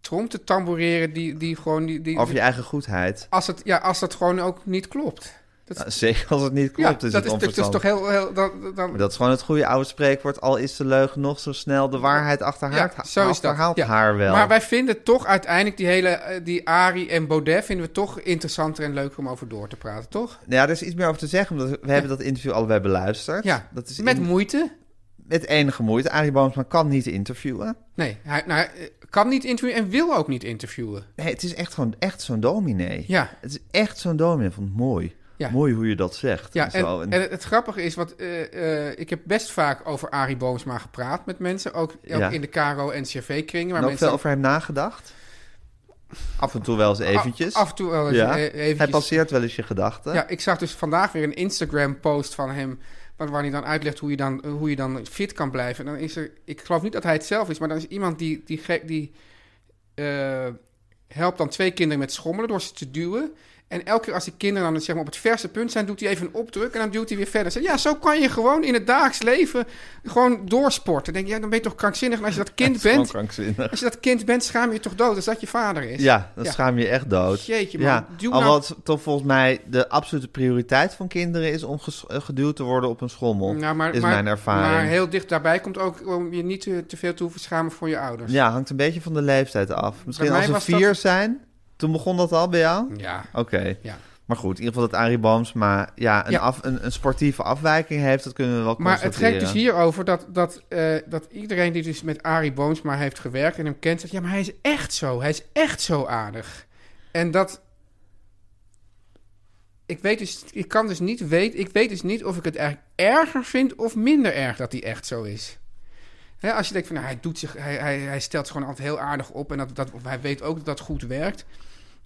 S1: trom te tamboureren die, die gewoon die, die
S2: Over je eigen goedheid.
S1: als het ja als dat gewoon ook niet klopt. Dat,
S2: Nou, zeker als het niet
S1: ja,
S2: klopt, is
S1: dat
S2: het
S1: is, dat is toch
S2: onverstandig.
S1: heel, heel dan, dan,
S2: Maar dat is gewoon het goede oude spreekwoord. Al is de leugen nog zo snel, de waarheid achter
S1: ja,
S2: haar,
S1: zo is dat.
S2: achterhaalt
S1: Ja.
S2: haar wel.
S1: Maar wij vinden toch uiteindelijk die hele eh, die Ari en Baudet vinden we toch interessanter en leuker om over door te praten, toch?
S2: Nou ja, er is iets meer over te zeggen, omdat we hebben dat interview allebei beluisterd.
S1: Ja.
S2: Dat is
S1: Met
S2: in-
S1: moeite.
S2: met enige moeite. Arie Boomsma kan niet interviewen.
S1: Nee, hij, nou, hij, eh, kan niet interviewen en wil ook niet interviewen.
S2: Nee, het is echt gewoon echt zo'n dominee.
S1: Ja.
S2: Het is echt zo'n dominee. Ik vond het mooi.
S1: Ja.
S2: Mooi hoe je dat zegt.
S1: Ja, en,
S2: zo. En-
S1: en het, het grappige is, wat, eh, eh, ik heb best vaak over Arie Boomsma gepraat met mensen. Ook, ook
S2: Ja. Nou,
S1: in de KRO en CV-kringen.
S2: en
S1: Waar
S2: ook
S1: mensen
S2: veel over hem nagedacht. Af en toe wel eens eventjes.
S1: a- Af en toe wel eens
S2: ja.
S1: eh, eventjes.
S2: Hij passeert wel eens je gedachten.
S1: Ja, ik zag dus vandaag weer een Instagram-post van hem... waar waar hij dan uitlegt hoe je dan, eh, hoe je dan fit kan blijven. Dan is er, ik geloof niet dat hij het zelf is, maar dan is iemand die, die, ge- die eh, helpt dan twee kinderen met schommelen door ze te duwen. En elke keer als die kinderen dan zeg maar, op het verste punt zijn, doet hij even een opdruk en dan duwt hij weer verder. Zeg, ja, zo kan je gewoon in het dagelijks leven gewoon doorsporten. Dan denk je, ja, dan ben je toch krankzinnig. En als je dat
S2: Het
S1: kind
S2: is gewoon
S1: bent,
S2: krankzinnig.
S1: als je dat kind bent, schaam je je toch dood als dat je vader is.
S2: Ja, dan
S1: Ja.
S2: schaam je je echt dood.
S1: Jeetje, man.
S2: ja.
S1: Duw nou-
S2: Al wat toch volgens mij de absolute prioriteit van kinderen is om ges- eh, geduwd te worden op een schommel.
S1: Nou, maar,
S2: is
S1: maar,
S2: mijn ervaring.
S1: Maar heel dicht daarbij komt ook om je niet te, te veel te hoeven schamen voor je ouders.
S2: Ja, hangt een beetje van de leeftijd af. Misschien
S1: mij
S2: als we
S1: was
S2: vier
S1: dat-
S2: zijn, toen begon dat al bij jou?
S1: Ja.
S2: Oké.
S1: Ja.
S2: Maar goed, in ieder geval dat Arie Boomsma ja, een,
S1: Ja.
S2: Af, een, een sportieve afwijking heeft, dat kunnen we wel
S1: Maar het
S2: constateren.
S1: geeft dus hierover dat, dat, eh, dat iedereen die dus met Arie Boomsma heeft gewerkt en hem kent, zegt: Ja, maar hij is echt zo. Hij is echt zo aardig. En dat. Ik weet dus, ik kan dus niet weten, ik weet dus niet of ik het eigenlijk erger vind of minder erg dat hij echt zo is. Hè, als je denkt van, nou, hij doet zich, hij, hij, hij stelt zich gewoon altijd heel aardig op en dat, dat, of hij weet ook dat dat goed werkt.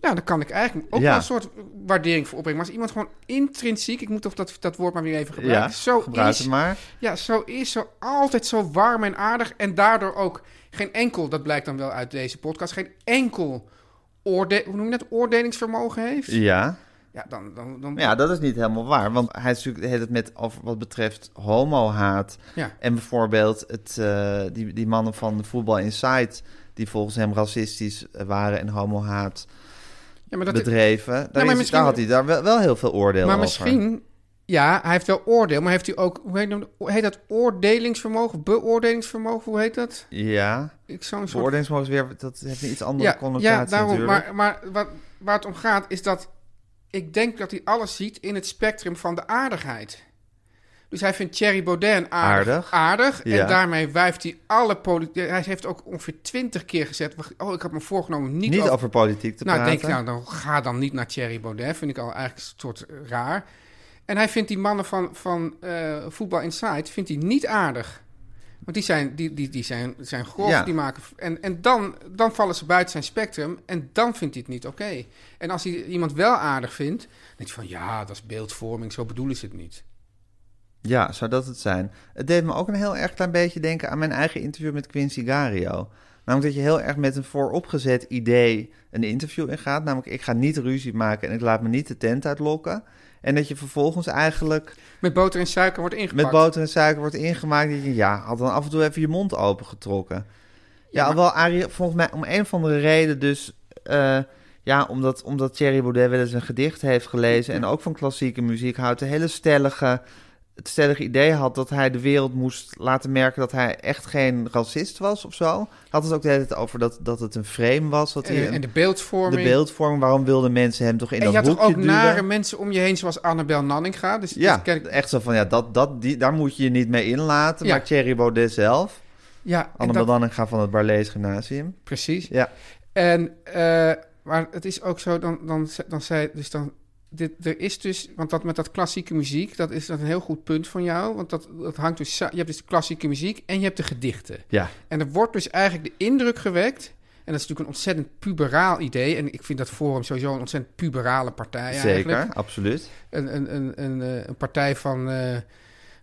S1: Ja, dan kan ik eigenlijk ook
S2: Ja.
S1: wel een soort waardering voor opbrengen. Maar als iemand gewoon intrinsiek, ik moet toch dat, dat woord maar weer even gebruiken,
S2: Ja,
S1: zo
S2: gebruik
S1: is,
S2: het maar.
S1: ja, zo is zo altijd zo warm en aardig. En daardoor ook geen enkel, dat blijkt dan wel uit deze podcast, geen enkel oorde hoe noem je dat, oordelingsvermogen heeft. Ja,
S2: Ja.
S1: dan. dan, dan
S2: Maar ja, dat is niet helemaal waar. Want hij is natuurlijk heeft het met over wat betreft homohaat.
S1: Ja.
S2: En bijvoorbeeld het, eh, die, die mannen van Voetbal Insight, die volgens hem racistisch eh, waren en homohaat
S1: Ja, maar dat
S2: bedreven. Daar, is- daar
S1: misschien-
S2: had hij daar wel, wel heel veel oordeel
S1: maar
S2: over.
S1: misschien, ja, hij heeft wel oordeel, maar heeft hij ook, hoe heet dat, heet dat oordelingsvermogen, beoordelingsvermogen, hoe heet dat?
S2: Ja,
S1: Ik zo'n soort
S2: beoordelingsmogen is weer, dat heeft een iets andere connotatie
S1: ja, daarom.
S2: natuurlijk.
S1: Maar, maar wat, waar het om gaat is dat ik denk dat hij alles ziet in het spectrum van de aardigheid. Dus hij vindt Thierry Baudet aardig.
S2: Aardig.
S1: aardig
S2: Ja.
S1: En daarmee wijft hij alle politiek... Hij heeft ook ongeveer twintig keer gezegd... wacht, Oh, ik had me voorgenomen niet,
S2: Niet over, politiek te
S1: nou,
S2: praten.
S1: denk ik, nou, dan ga dan niet naar Thierry Baudet. Vind ik al eigenlijk een soort eh, raar. En hij vindt die mannen van, van eh Voetbal Inside vindt hij niet aardig. Want die zijn, die, die, die zijn, zijn grof,
S2: Ja.
S1: die maken... En, en dan, dan vallen ze buiten zijn spectrum en dan vindt hij het niet oké. En als hij iemand wel aardig vindt, dan denk je van... Ja, dat is beeldvorming, zo bedoelen ze het niet.
S2: Ja, zou dat het zijn? Het deed me ook een heel erg klein beetje denken aan mijn eigen interview met Quincy Gario. Namelijk dat je heel erg met een vooropgezet idee een interview ingaat. Namelijk, ik ga niet ruzie maken en ik laat me niet de tent uitlokken. En dat je vervolgens eigenlijk
S1: Met boter en suiker wordt ingepakt.
S2: met boter en suiker wordt ingemaakt. Dat je, ja, had dan af en toe even je mond opengetrokken. Ja, alhoewel Arie, volgens mij om een of andere reden dus... eh, ja, omdat, omdat Thierry Baudet wel eens een gedicht heeft gelezen... en ook van klassieke muziek houdt, een hele stellige... het stellige idee had dat hij de wereld moest laten merken... dat hij echt geen racist was of zo. Had het ook de hele tijd over dat, dat het een frame was. Dat hij
S1: en, Eh, en
S2: een-
S1: de beeldvorming.
S2: de beeldvorming, waarom wilden mensen hem toch in
S1: en
S2: dat
S1: je had
S2: hoekje
S1: toch ook
S2: duwen?
S1: nare mensen om je heen, zoals Annabel Nanninga. Dus,
S2: Ja,
S1: dus ken ik-
S2: echt zo van, ja, dat, dat, die, daar moet je je niet mee inlaten.
S1: Ja.
S2: Maar Thierry Baudet zelf,
S1: ja, en
S2: Anne
S1: dat-
S2: dan gaat van het Barlees Gymnasium.
S1: precies.
S2: Ja,
S1: En, eh, maar het is ook zo, dan, dan, ze- dan zei, dus dan, dit, er is dus, want dat met dat klassieke muziek, dat is dat een heel goed punt van jou, want dat, dat hangt dus, sa- je hebt dus de klassieke muziek en je hebt de gedichten.
S2: ja.
S1: En er wordt dus eigenlijk de indruk gewekt, en dat is natuurlijk een ontzettend puberaal idee, en ik vind dat Forum sowieso een ontzettend puberale partij
S2: zeker,
S1: eigenlijk.
S2: absoluut.
S1: Een, een, een, een, eh, een partij van, eh,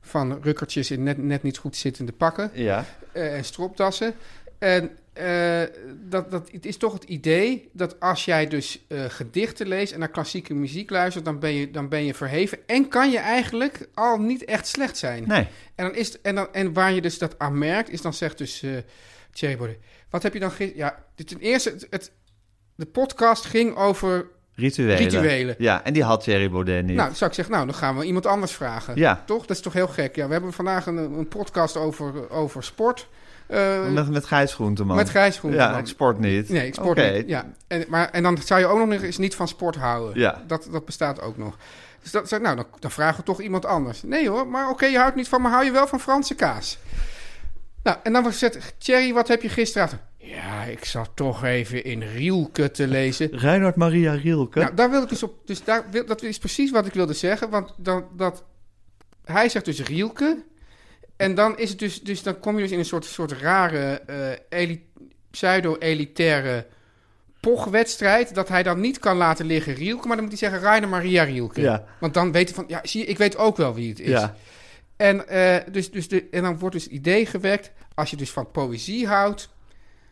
S1: van rukkertjes in net, net niet goed zittende pakken
S2: Ja.
S1: eh, en stropdassen. En eh, dat, dat, het is toch het idee dat als jij dus eh, gedichten leest en naar klassieke muziek luistert, dan ben, je, dan ben je verheven. En kan je eigenlijk al niet echt slecht zijn.
S2: Nee.
S1: En, dan is het- en, dan, en waar je dus dat aan merkt, is dan zegt dus eh Thierry Baudet, wat heb je dan gisteren... Ja, dit- ten eerste, het, het- de podcast ging over...
S2: Rituelen.
S1: Rituelen.
S2: Ja, en die had Thierry Baudet niet.
S1: Nou, dan zou ik zeggen, nou, dan gaan we iemand anders vragen.
S2: Ja.
S1: Toch? Dat is toch heel gek. Ja, we hebben vandaag een, een podcast over, over sport. Eh,
S2: met, met Gijs Groenteman.
S1: Met Gijs Groenteman.
S2: Ja, ik sport niet.
S1: Nee, ik sport
S2: Oké.
S1: niet. Ja. En, maar, en dan zou je ook nog eens niet van sport houden.
S2: Ja.
S1: Dat, dat bestaat ook nog. Dus dat, zeg ik, nou, dan, dan vragen we toch iemand anders. Nee hoor, maar oké, je houdt niet van, maar hou je wel van Franse kaas? Nou, en dan wordt gezegd, Thierry, wat heb je gisteravond? Ja, ik zat toch even in Rielke te lezen.
S2: Reinhard Maria Rielke.
S1: Nou, daar wil ik dus op. Dus daar wil, dat is precies wat ik wilde zeggen. Want dan, dat, hij zegt dus Rielke. En dan, is het dus, dus dan kom je dus in een soort, soort rare eh, eli- pseudo-elitaire pochwedstrijd. Dat hij dan niet kan laten liggen Rielke. Maar dan moet hij zeggen Rainer Maria Rielke.
S2: Ja.
S1: Want dan weet hij van, ja, zie je, ik weet ook wel wie het is.
S2: ja.
S1: En, eh, dus, dus de, en dan wordt dus het idee gewekt, als je dus van poëzie houdt,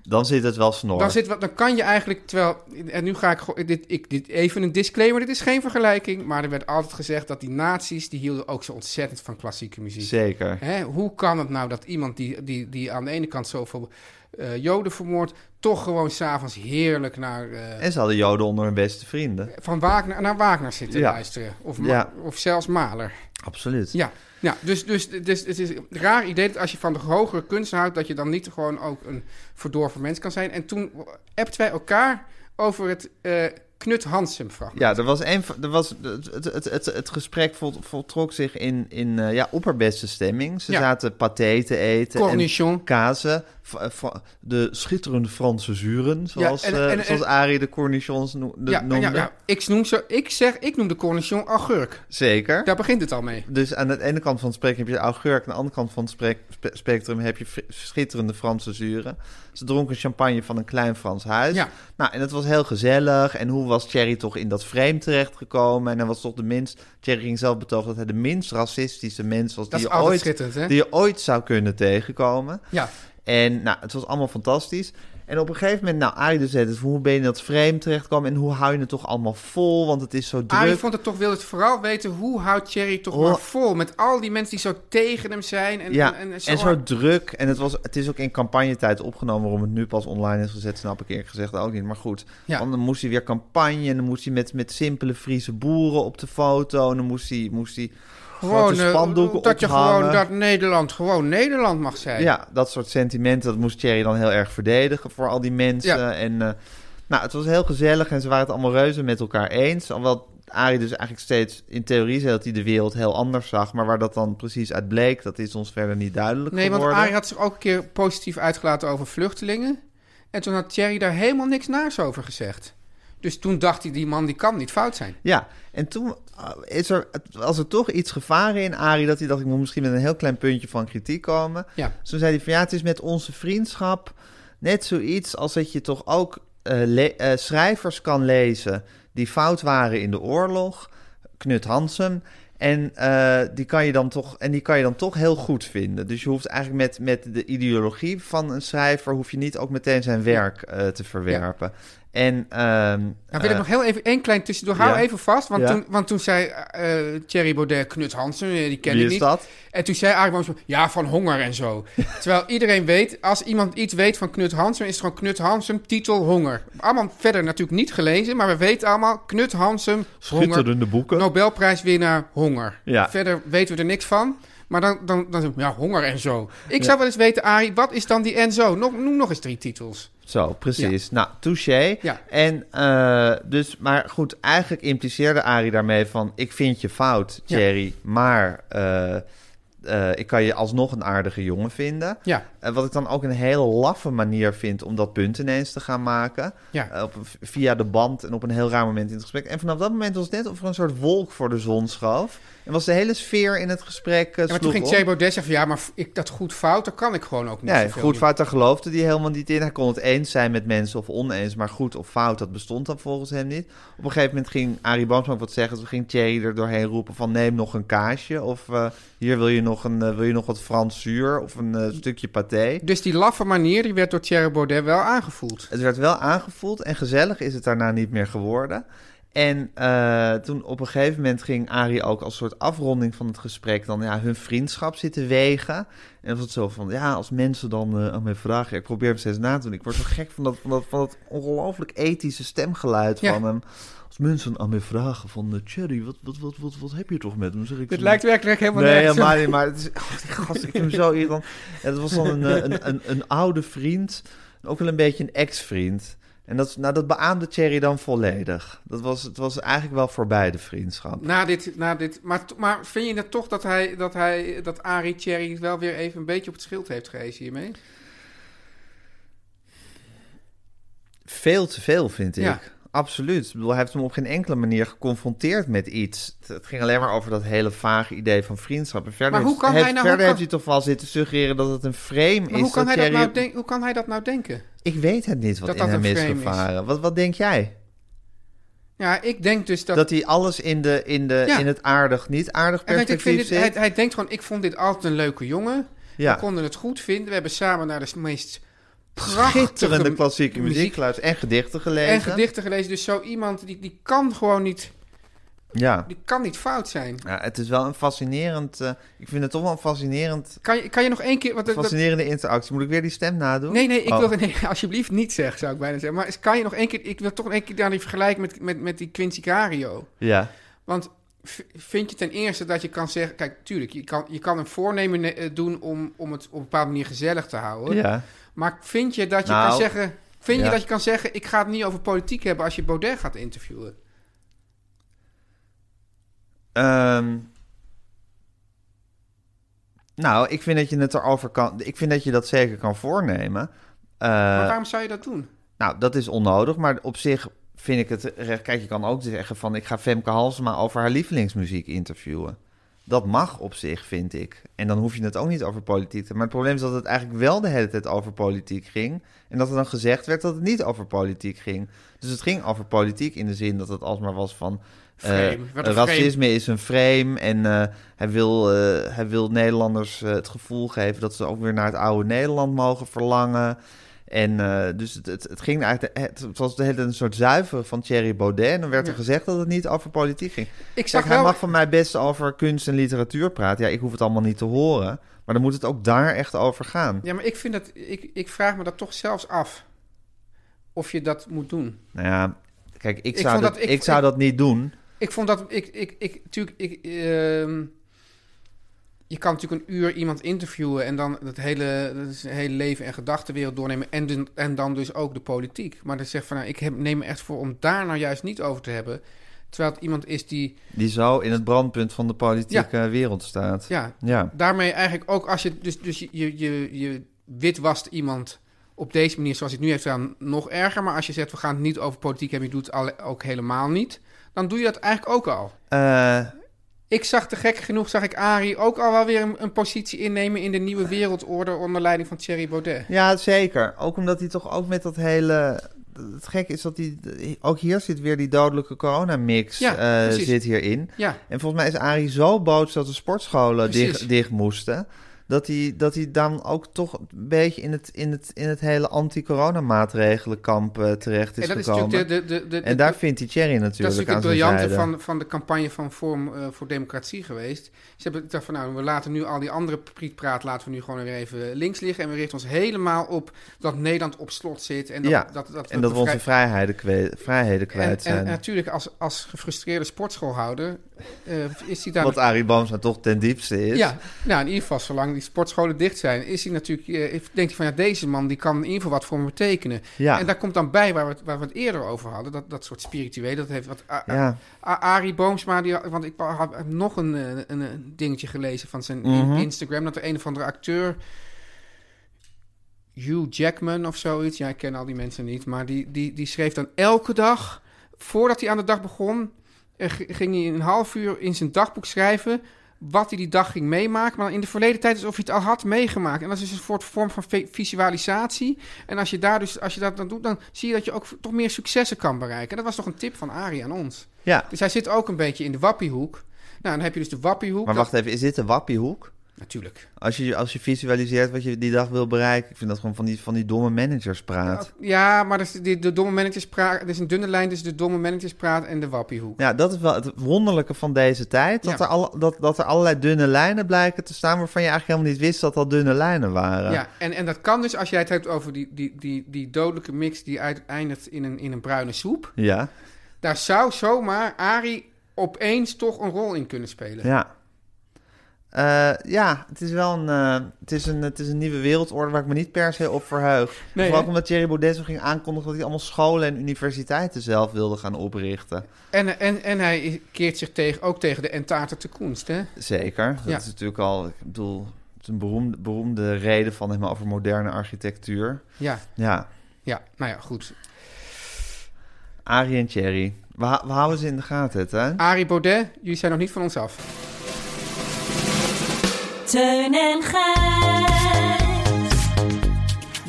S2: Dan zit het wel snor.
S1: dan, zit, wat- dan kan je eigenlijk, terwijl, en nu ga ik, gewoon- dit, ik dit, even een disclaimer, dit is geen vergelijking, maar er werd altijd gezegd dat die nazi's, die hielden ook zo ontzettend van klassieke muziek.
S2: Zeker.
S1: Hè, hoe kan het nou dat iemand die, die, die aan de ene kant zoveel eh, joden vermoordt, toch gewoon s'avonds heerlijk naar, eh,
S2: En ze hadden Joden onder hun beste vrienden.
S1: van Wagner, naar Wagner zit te
S2: Ja.
S1: luisteren? Of, Ma-
S2: Ja.
S1: of zelfs Maler.
S2: Absoluut.
S1: Ja, ja dus, dus, dus het is een raar idee dat als je van de hogere kunst houdt, dat je dan niet gewoon ook een verdorven mens kan zijn. En toen appten wij elkaar over het eh, Knut Hansum fragment.
S2: Ja, er was een, er was, het, het, het, het, het gesprek vol- voltrok zich in, in eh, ja, opperbeste stemming. Ze
S1: Ja.
S2: zaten paté te eten.
S1: Cornichon.
S2: En kazen. Fra- fra- de schitterende Franse zuren, zoals,
S1: en-
S2: eh,
S1: en- en-
S2: zoals Arie de cornichons noe- de-
S1: Ja, ja,
S2: noemde.
S1: ja, Ik, noem zo, ik zeg, ik noem de cornichon augurk.
S2: Zeker.
S1: Daar begint het al mee.
S2: Dus aan de ene kant van het spectrum heb je augurk. Aan de andere kant van het sprek- spe- spectrum heb je fri- schitterende Franse zuren. Ze dronken champagne van een klein Frans huis.
S1: Ja.
S2: Nou, en dat was heel gezellig. En hoe was Thierry toch in dat frame terechtgekomen? En hij was toch de minst... Thierry ging zelf betogen dat hij de minst racistische mens was...
S1: Dat
S2: die
S1: is
S2: je,
S1: altijd
S2: ooit,
S1: schitterend, hè?
S2: die je ooit zou kunnen tegenkomen.
S1: Ja.
S2: En nou, het was allemaal fantastisch. En op een gegeven moment, nou, Arie dus zei het, hoe ben je in dat frame terechtgekomen? En hoe hou je het toch allemaal vol? Want het is zo druk.
S1: Arie Ah, vond het toch, wilde het vooral weten, hoe houdt Thierry toch
S2: Hoe-
S1: maar vol met al die mensen die zo tegen hem zijn. En,
S2: ja,
S1: en, en zo,
S2: en zo druk. En het, was, het is ook in campagnetijd opgenomen. Waarom het nu pas online is gezet, snap ik eerlijk gezegd ook niet. Maar goed,
S1: Ja.
S2: want dan moest hij weer campagne. En dan moest hij met, met simpele Friese boeren op de foto. En dan moest hij, moest hij
S1: gewoon,
S2: grote
S1: eh,
S2: spandoeken
S1: dat je
S2: ophangen.
S1: gewoon, dat Nederland gewoon Nederland mag zijn.
S2: Ja, dat soort sentimenten, dat moest Thierry dan heel erg verdedigen voor al die mensen.
S1: Ja.
S2: En eh, nou, het was heel gezellig en ze waren het allemaal reuze met elkaar eens. Alhoewel Arie dus eigenlijk steeds in theorie zei dat hij de wereld heel anders zag. Maar waar dat dan precies uit bleek, dat is ons verder niet duidelijk
S1: Nee, want
S2: geworden.
S1: Arie had zich ook een keer positief uitgelaten over vluchtelingen. En toen had Thierry daar helemaal niks naars over gezegd. Dus toen dacht hij, die man die kan niet fout zijn.
S2: Ja, en toen eh, is er, was er toch iets gevaren in Arie... dat hij dacht, ik moet misschien met een heel klein puntje van kritiek komen.
S1: Ja.
S2: Dus toen zei hij van, ja, het is met onze vriendschap net zoiets... als dat je toch ook eh, le- eh, schrijvers kan lezen die fout waren in de oorlog. Knut Hansen. En, eh, die kan je dan toch, en die kan je dan toch heel goed vinden. Dus je hoeft eigenlijk met, met de ideologie van een schrijver... hoef je niet ook meteen zijn werk eh, te verwerpen. En... ehm,
S1: Nou wil
S2: eh,
S1: ik nog heel even één klein tussendoor. Hou
S2: ja.
S1: even vast, want,
S2: Ja.
S1: toen, want toen zei eh, eh, Thierry Baudet Knut Hansen, eh, die ken
S2: Wie
S1: ik
S2: is
S1: niet.
S2: dat?
S1: En toen zei Arie Boomsma, ja, van honger en zo. Terwijl iedereen weet, als iemand iets weet van Knut Hansen... is het gewoon Knut Hansen, titel honger. Allemaal verder natuurlijk niet gelezen, maar we weten allemaal... Knut Hansen, honger,
S2: boeken.
S1: Nobelprijswinnaar, honger.
S2: Ja.
S1: Verder weten we er niks van, maar dan, dan, dan ja, honger en zo. Ik zou wel eens weten, Arie, wat is dan die en zo? Nog, noem nog eens drie titels.
S2: Zo, precies. Nou, touché.
S1: Ja.
S2: En eh, dus, maar goed, eigenlijk impliceerde Arie daarmee van... ik vind je fout,
S1: Ja.
S2: Jerry, maar eh, eh, ik kan je alsnog een aardige jongen vinden.
S1: Ja.
S2: Eh, wat ik dan ook een hele laffe manier vind om dat punt ineens te gaan maken.
S1: Ja.
S2: Eh, op, via de band en op een heel raar moment in het gesprek. En vanaf dat moment was het net of er een soort wolk voor de zon schoof. En was de hele sfeer in het gesprek eh,
S1: Ja, maar toen
S2: sloeg
S1: ging
S2: om.
S1: Thierry Baudet zeggen van... ja, maar ik, dat goed fout, dat kan ik gewoon ook niet
S2: Ja,
S1: zoveel
S2: goed
S1: doen.
S2: fout, daar geloofde hij helemaal niet in. Hij kon het eens zijn met mensen of oneens, maar goed of fout, dat bestond dan volgens hem niet. Op een gegeven moment ging Arie Boomsma ook wat zeggen. Toen ging Thierry er doorheen roepen van neem nog een kaasje. Of eh, hier wil je, nog een, eh, wil je nog wat Frans zuur of een eh, stukje paté.
S1: Dus die laffe manier, die werd door Thierry Baudet wel aangevoeld.
S2: Het werd wel aangevoeld en gezellig is het daarna niet meer geworden. En eh, toen op een gegeven moment ging Arie ook als soort afronding van het gesprek dan ja, hun vriendschap zitten wegen. En dan was het zo van, ja, als mensen dan eh, aan mij vragen, ik probeer hem steeds na te doen. Ik word zo gek van dat, van dat, van dat ongelooflijk ethische stemgeluid
S1: Ja.
S2: van hem. Als mensen aan mij vragen van, eh, Thierry, wat, wat, wat, wat, wat heb je toch met hem? Zeg ik
S1: Dit
S2: van,
S1: lijkt werkelijk helemaal
S2: Nee,
S1: nergens op.
S2: helemaal niet. Maar het is, oh, die gast, ik vind hem zo irritant. En het was dan een, eh, een, een, een oude vriend. En ook wel een beetje een ex-vriend. En dat, nou, dat beaamde Thierry dan volledig. Dat was, het was eigenlijk wel voorbij de vriendschap.
S1: Na dit, na dit. Maar, to- maar vind je het toch dat hij, dat hij, dat Arie Thierry wel weer even een beetje op het schild heeft gehezen hiermee?
S2: Veel te veel, vind ik.
S1: Ja.
S2: Absoluut. Ik bedoel, hij heeft hem op geen enkele manier geconfronteerd met iets. Het- Het ging alleen maar over dat hele vage idee van vriendschap. En verder
S1: Maar hoe
S2: heeft-
S1: kan hij
S2: heeft-
S1: nou-
S2: verder
S1: hoe kan-
S2: heeft hij toch wel zitten suggereren dat het een frame is.
S1: Maar hoe kan, hij dat
S2: Thierry-
S1: nou denk, hoe kan hij dat nou denken?
S2: Ik weet het niet wat
S1: dat
S2: in
S1: dat
S2: hem
S1: een
S2: is
S1: frame is?
S2: gevaren. Wat, wat denk jij?
S1: Ja, ik denk dus dat...
S2: Dat hij alles in, de, in, de,
S1: Ja.
S2: in het aardig, niet aardig
S1: Hij, weet, ik vind
S2: perspectief
S1: dit-
S2: zit.
S1: hij, hij denkt gewoon, ik vond dit altijd een leuke jongen.
S2: Ja.
S1: We konden het goed vinden. We hebben samen naar de meest
S2: Schitterende
S1: prachtige
S2: klassieke muziek, geluisterd en gedichten gelezen.
S1: en gedichten gelezen. Dus zo iemand, die, die kan gewoon niet,
S2: Ja.
S1: die kan niet fout zijn.
S2: ja, het is wel een fascinerend... eh, ik vind het toch wel een fascinerend,
S1: Kan je, kan je nog één keer... Wat, dat- dat-
S2: fascinerende interactie. Moet ik weer die stem nadoen?
S1: nee, nee, ik
S2: Oh.
S1: wil nee, alsjeblieft niet zeggen, zou ik bijna zeggen. Maar kan je nog één keer... Ik wil toch één keer daar die vergelijking met, met, met die Quincy Cario.
S2: Ja.
S1: Want v- vind je ten eerste dat je kan zeggen... Kijk, tuurlijk, je kan, je kan een voornemen eh, doen om, om het op een bepaalde manier gezellig te houden.
S2: Ja.
S1: Maar vind je dat je
S2: Nou,
S1: kan zeggen... Vind
S2: ja.
S1: je dat je kan zeggen, ik ga het niet over politiek hebben als je Baudet gaat interviewen?
S2: Ehm, nou, ik vind dat je het erover kan... Ik vind dat je dat zeker kan voornemen. Eh,
S1: maar waarom zou je dat doen?
S2: Nou, dat is onnodig, maar op zich vind ik het recht. Kijk, je kan ook zeggen van ik ga Femke Halsema over haar lievelingsmuziek interviewen. Dat mag op zich, vind ik. En dan hoef je het ook niet over politiek te. Maar het probleem is dat het eigenlijk wel de hele tijd over politiek ging. En dat er dan gezegd werd dat het niet over politiek ging. Dus het ging over politiek in de zin dat het alsmaar was van. eh,
S1: Frame. Wat een
S2: racisme is een frame. En eh, hij, wil, eh, hij wil Nederlanders eh, het gevoel geven dat ze ook weer naar het oude Nederland mogen verlangen. En eh, dus het, het, het ging eigenlijk. Het, het was de hele tijd een soort zuiveren van Thierry Baudet. En dan werd er gezegd dat het niet over politiek ging.
S1: Ik zag
S2: Kijk, hij
S1: wel...
S2: mag van mij best over kunst en literatuur praten. Ja, ik hoef het allemaal niet te horen. Maar dan moet het ook daar echt over gaan.
S1: Ja, maar ik vind dat... Ik, ik vraag me dat toch zelfs af. Of je dat moet doen.
S2: Nou ja, kijk, ik
S1: Ik
S2: zou,
S1: vond
S2: dat,
S1: dat- ik-
S2: ik zou
S1: ik-
S2: dat niet doen.
S1: Ik vond dat ik, ik, ik, natuurlijk, ik, ehm, je kan natuurlijk een uur iemand interviewen en dan het hele, dat is een hele leven en gedachtenwereld doornemen en, dus- en dan dus ook de politiek. Maar dan zeg van, nou, ik heb, neem me echt voor om daar nou juist niet over te hebben. Terwijl het iemand is die,
S2: Die zo in het brandpunt van de politieke wereld staat.
S1: ja,
S2: Ja.
S1: daarmee eigenlijk ook als je, dus, dus je, je, je, je witwast iemand op deze manier zoals hij het nu heeft gedaan, nog erger. Maar als je zegt, we gaan het niet over politiek hebben, je doet het alle- ook helemaal niet, dan doe je dat eigenlijk ook al.
S2: Eh,
S1: Ik zag te gek genoeg, zag ik Arie ook al wel weer een, een positie innemen in de nieuwe wereldorde onder leiding van Thierry Baudet.
S2: Ja, zeker. Ook omdat hij toch ook met dat hele... Het gek is dat hij... Ook hier zit weer die dodelijke coronamix
S1: Ja,
S2: eh,
S1: precies.
S2: zit hierin.
S1: Ja,
S2: En volgens mij is Arie zo boos dat de sportscholen
S1: Precies.
S2: dicht, dicht moesten... Dat hij, dat hij dan ook toch een beetje in het, in het, in het hele anti-coronamaatregelenkamp eh, terecht is
S1: en dat is
S2: gekomen.
S1: natuurlijk de, de, de, de-
S2: en daar vindt hij Thierry natuurlijk
S1: dat is natuurlijk
S2: aan
S1: het
S2: zijn
S1: briljante
S2: zijde.
S1: van, van de campagne van Vorm eh, voor Democratie geweest. Ze hebben gedacht van nou, we laten nu al die andere prietpraat, laten we nu gewoon weer even links liggen. En we richten ons helemaal op dat Nederland op slot zit. En dat,
S2: Ja,
S1: dat, dat,
S2: En dat we
S1: de
S2: onze
S1: vrij-
S2: vrijheden kwijt, vrijheden
S1: en,
S2: kwijt zijn.
S1: en natuurlijk, als, als gefrustreerde sportschoolhouder eh, is hij daar
S2: Wat Arie Boomsma toch ten diepste is.
S1: Ja, nou in ieder geval, zolang die sportscholen dicht zijn, is hij natuurlijk, eh, denkt hij van ja, deze man die kan in ieder geval wat voor me betekenen.
S2: Ja.
S1: En daar komt dan bij waar we, het- waar we het eerder over hadden, dat, dat soort spiritueel, dat heeft wat. A-
S2: Ja.
S1: A- Arie Boomsma, die, had- want ik had had nog een, eh, een, eh, dingetje gelezen van zijn in-
S2: Mhm.
S1: Instagram, dat er een of andere acteur. Hugh Jackman of zoiets. Ja, ik ken al die mensen niet. Maar die, die, die schreef dan elke dag, voordat hij aan de dag begon, eh, g- ging hij een half uur in zijn dagboek schrijven wat hij die dag ging meemaken. Maar dan in de verleden tijd alsof hij het al had meegemaakt. En dat is dus een soort vorm van vi- visualisatie. En als je, daar dus, als je dat dan doet, dan zie je dat je ook v- toch meer successen kan bereiken. En dat was toch een tip van Arie aan ons.
S2: ja.
S1: Dus hij zit ook een beetje in de wappiehoek. Nou, dan heb je dus de wappiehoek.
S2: Maar
S1: dat-
S2: wacht even, is dit de wappiehoek?
S1: Natuurlijk.
S2: Als je, als je visualiseert wat je die dag wil bereiken. Ik vind dat gewoon van die, van die domme managers praat.
S1: Ja, maar dat is de, de domme managerspraat. Er is een dunne lijn tussen de domme managerspraat en de wappiehoek.
S2: Ja, dat is wel het wonderlijke van deze tijd. Dat,
S1: Ja.
S2: er alle, dat, dat er allerlei dunne lijnen blijken te staan... waarvan je eigenlijk helemaal niet wist dat dat dunne lijnen waren.
S1: Ja, en, en dat kan dus als jij het hebt over die, die, die, die dodelijke mix die eindigt in een, in een bruine soep.
S2: Ja,
S1: Daar zou zomaar Arie opeens toch een rol in kunnen spelen.
S2: ja. Eh, ja, het is wel een, eh, het is een, het is een nieuwe wereldorde waar ik me niet per se op verheug.
S1: Nee,
S2: Vooral
S1: hè?
S2: omdat Thierry Baudet zo ging aankondigen dat hij allemaal scholen en universiteiten zelf wilde gaan oprichten.
S1: En, en, en hij keert zich tegen, ook tegen de Entater te Koenst, hè?
S2: Zeker. Dat
S1: Ja.
S2: is natuurlijk al, ik bedoel, het is een beroemde, beroemde reden van hem over moderne architectuur.
S1: Ja,
S2: Ja,
S1: ja, nou ja, goed.
S2: Arie en Thierry. We, hou- we houden ze in de gaten, het, hè?
S1: Arie Baudet, jullie zijn nog niet van ons af.
S4: Teun en Gijs.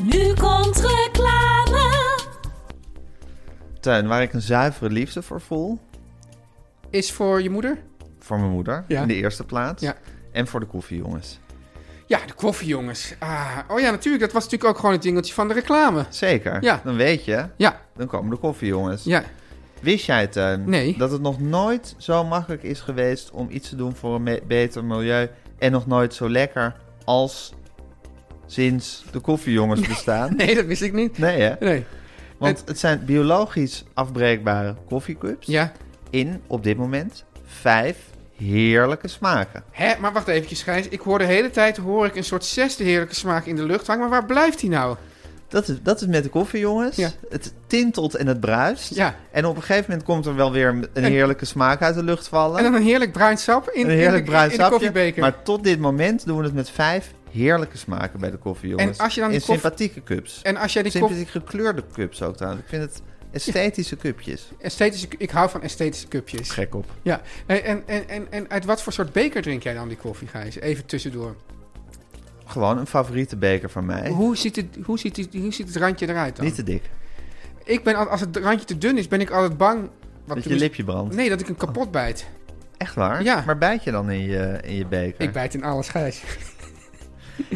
S4: Nu komt reclame.
S2: Teun, waar ik een zuivere liefde voor voel.
S1: Is voor je moeder?
S2: Voor mijn moeder,
S1: Ja.
S2: in de eerste plaats.
S1: Ja.
S2: En voor de koffiejongens.
S1: Ja, de koffie, jongens. Ah, oh ja, natuurlijk. Dat was natuurlijk ook gewoon het dingeltje van de reclame.
S2: Zeker.
S1: Ja.
S2: Dan weet je,
S1: Ja,
S2: dan komen de koffiejongens.
S1: ja.
S2: Wist jij, Teun,
S1: Nee.
S2: dat het nog nooit zo makkelijk is geweest om iets te doen voor een me- beter milieu en nog nooit zo lekker als sinds de koffiejongens bestaan?
S1: Nee, dat wist ik niet.
S2: Nee, hè?
S1: Nee.
S2: Want
S1: Het-
S2: het zijn biologisch afbreekbare koffiecups
S1: Ja.
S2: in op dit moment vijf heerlijke smaken.
S1: Hè, maar wacht eventjes, Gijs. Ik hoor de hele tijd hoor ik een soort zesde heerlijke smaak in de lucht hangen. Maar waar blijft die nou?
S2: Dat is, dat is met de koffie, jongens.
S1: Ja.
S2: Het tintelt en het bruist.
S1: Ja.
S2: En op een gegeven moment komt er wel weer een, een
S1: En-
S2: heerlijke smaak uit de lucht vallen.
S1: En dan een heerlijk bruin sap in,
S2: een heerlijk
S1: in, de,
S2: bruin
S1: in de
S2: sapje.
S1: koffiebeker.
S2: Maar tot dit moment doen we het met vijf heerlijke smaken bij de koffie, jongens.
S1: En als je dan die
S2: In
S1: koffie-
S2: sympathieke cups.
S1: En als jij die koffie...
S2: Sympathiek gekleurde cups ook trouwens. Ik vind het esthetische cupjes.
S1: Esthetische, ik hou van esthetische cupjes.
S2: Gek op.
S1: Ja. Hey, En, en, en, en uit wat voor soort beker drink jij dan die koffie, Gijs? Even tussendoor.
S2: Gewoon een favoriete beker van mij.
S1: Hoe ziet, het, hoe, ziet het, hoe ziet het randje eruit dan?
S2: Niet te dik.
S1: Ik ben, al- als het randje te dun is, ben ik altijd bang... Wat
S2: Dat je
S1: tenminste-
S2: lipje Oh. brandt.
S1: Nee, dat ik hem kapot bijt.
S2: Echt waar?
S1: Ja.
S2: Maar bijt je dan in je, in je beker?
S1: Ik bijt in alles, Gijs.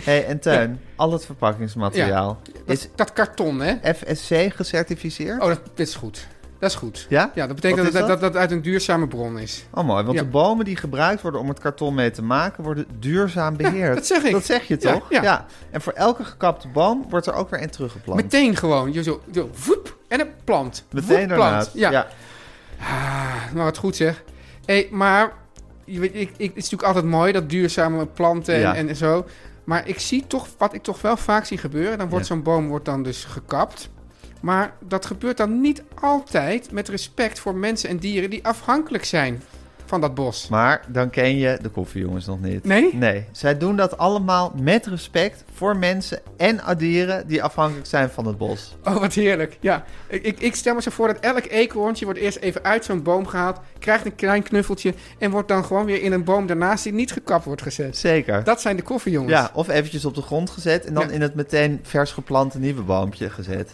S2: hey, en Tuin, al het verpakkingsmateriaal is
S1: Dat, dat karton, hè?
S2: FSC gecertificeerd?
S1: Oh, dat, dit is goed. Dat is goed.
S2: Ja?
S1: Ja, dat betekent
S2: Wat
S1: dat
S2: is
S1: dat?
S2: dat?
S1: Dat, dat uit een duurzame bron is.
S2: Oh mooi, want
S1: Ja.
S2: de bomen die gebruikt worden om het karton mee te maken worden duurzaam beheerd.
S1: dat zeg ik.
S2: Dat zeg je
S1: Ja,
S2: toch?
S1: ja.
S2: En voor elke gekapte boom wordt er ook weer een teruggeplant.
S1: Meteen gewoon. Je zo, zo voep, en een plant.
S2: Meteen
S1: Voep, plant.
S2: daarnaast.
S1: Ja. Ah, nou, wat goed zeg. Hey, maar je weet, ik, ik, het is natuurlijk altijd mooi, dat duurzame planten en,
S2: Ja.
S1: en zo. Maar ik zie toch, wat ik toch wel vaak zie gebeuren... dan wordt
S2: Ja.
S1: zo'n boom wordt dan dus gekapt. Maar dat gebeurt dan niet altijd met respect voor mensen en dieren... die afhankelijk zijn van dat bos.
S2: Maar dan ken je de koffiejongens nog niet.
S1: Nee?
S2: Nee. Zij doen dat allemaal met respect voor mensen en dieren die afhankelijk zijn van het bos.
S1: Oh, wat heerlijk. Ja, ik, ik, ik stel me zo voor dat elk eekhoorntje wordt eerst even uit zo'n boom gehaald, krijgt een klein knuffeltje en wordt dan gewoon weer in een boom daarnaast die niet gekapt wordt gezet.
S2: Zeker.
S1: Dat zijn de koffiejongens.
S2: Ja, of eventjes op de grond gezet en dan
S1: Ja.
S2: in het meteen vers geplante nieuwe boompje gezet.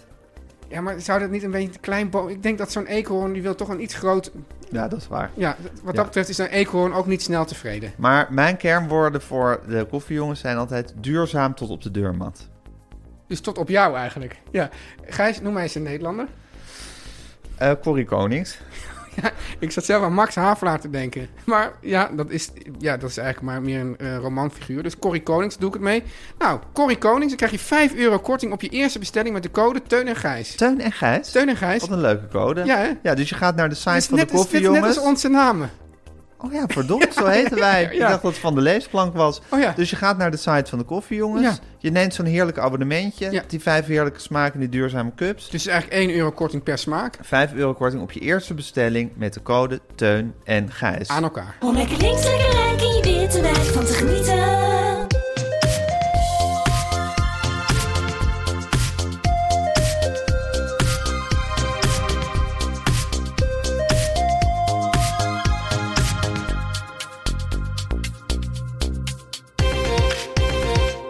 S1: ja, maar zou dat niet een beetje een klein boom... Ik denk dat zo'n eekhoorn, die wil toch een iets groot...
S2: Ja, dat is waar.
S1: Ja, wat
S2: Ja.
S1: dat betreft is een eekhoorn ook niet snel tevreden.
S2: Maar mijn kernwoorden voor de koffiejongens zijn altijd duurzaam tot op de deurmat.
S1: Dus tot op jou eigenlijk. Ja. Gijs, noem mij eens een Nederlander.
S2: Eh Corrie Konings.
S1: Ik zat zelf aan Max Havelaar te denken. Maar ja, dat is, ja, dat is eigenlijk maar meer een eh, romanfiguur. Dus Corrie Konings, doe ik het mee. Nou, Corrie Konings, dan krijg je 5 euro korting op je eerste bestelling met de code Teun en Gijs.
S2: Teun en Gijs.
S1: Teun en Gijs.
S2: Wat een leuke code.
S1: Ja, hè?
S2: ja, dus je gaat naar de site
S1: Het is
S2: van
S1: net,
S2: de
S1: als- dit is net
S2: koffiejongens.
S1: als onze namen.
S2: Oh ja, verdomd, zo heten wij.
S1: ja,
S2: Ik
S1: ja.
S2: dacht dat het van de leesplank was.
S1: Oh ja.
S2: Dus je gaat naar de site van de koffiejongens.
S1: Ja.
S2: Je neemt zo'n heerlijk abonnementje.
S1: Ja.
S2: Die vijf heerlijke smaken, die duurzame cups.
S1: Dus het is eigenlijk 1 euro korting per smaak.
S2: 5 euro korting op je eerste bestelling met de code Teun en Gijs.
S1: Aan elkaar.
S4: Om lekker links, lekker rijk in je witte wijk van te genieten.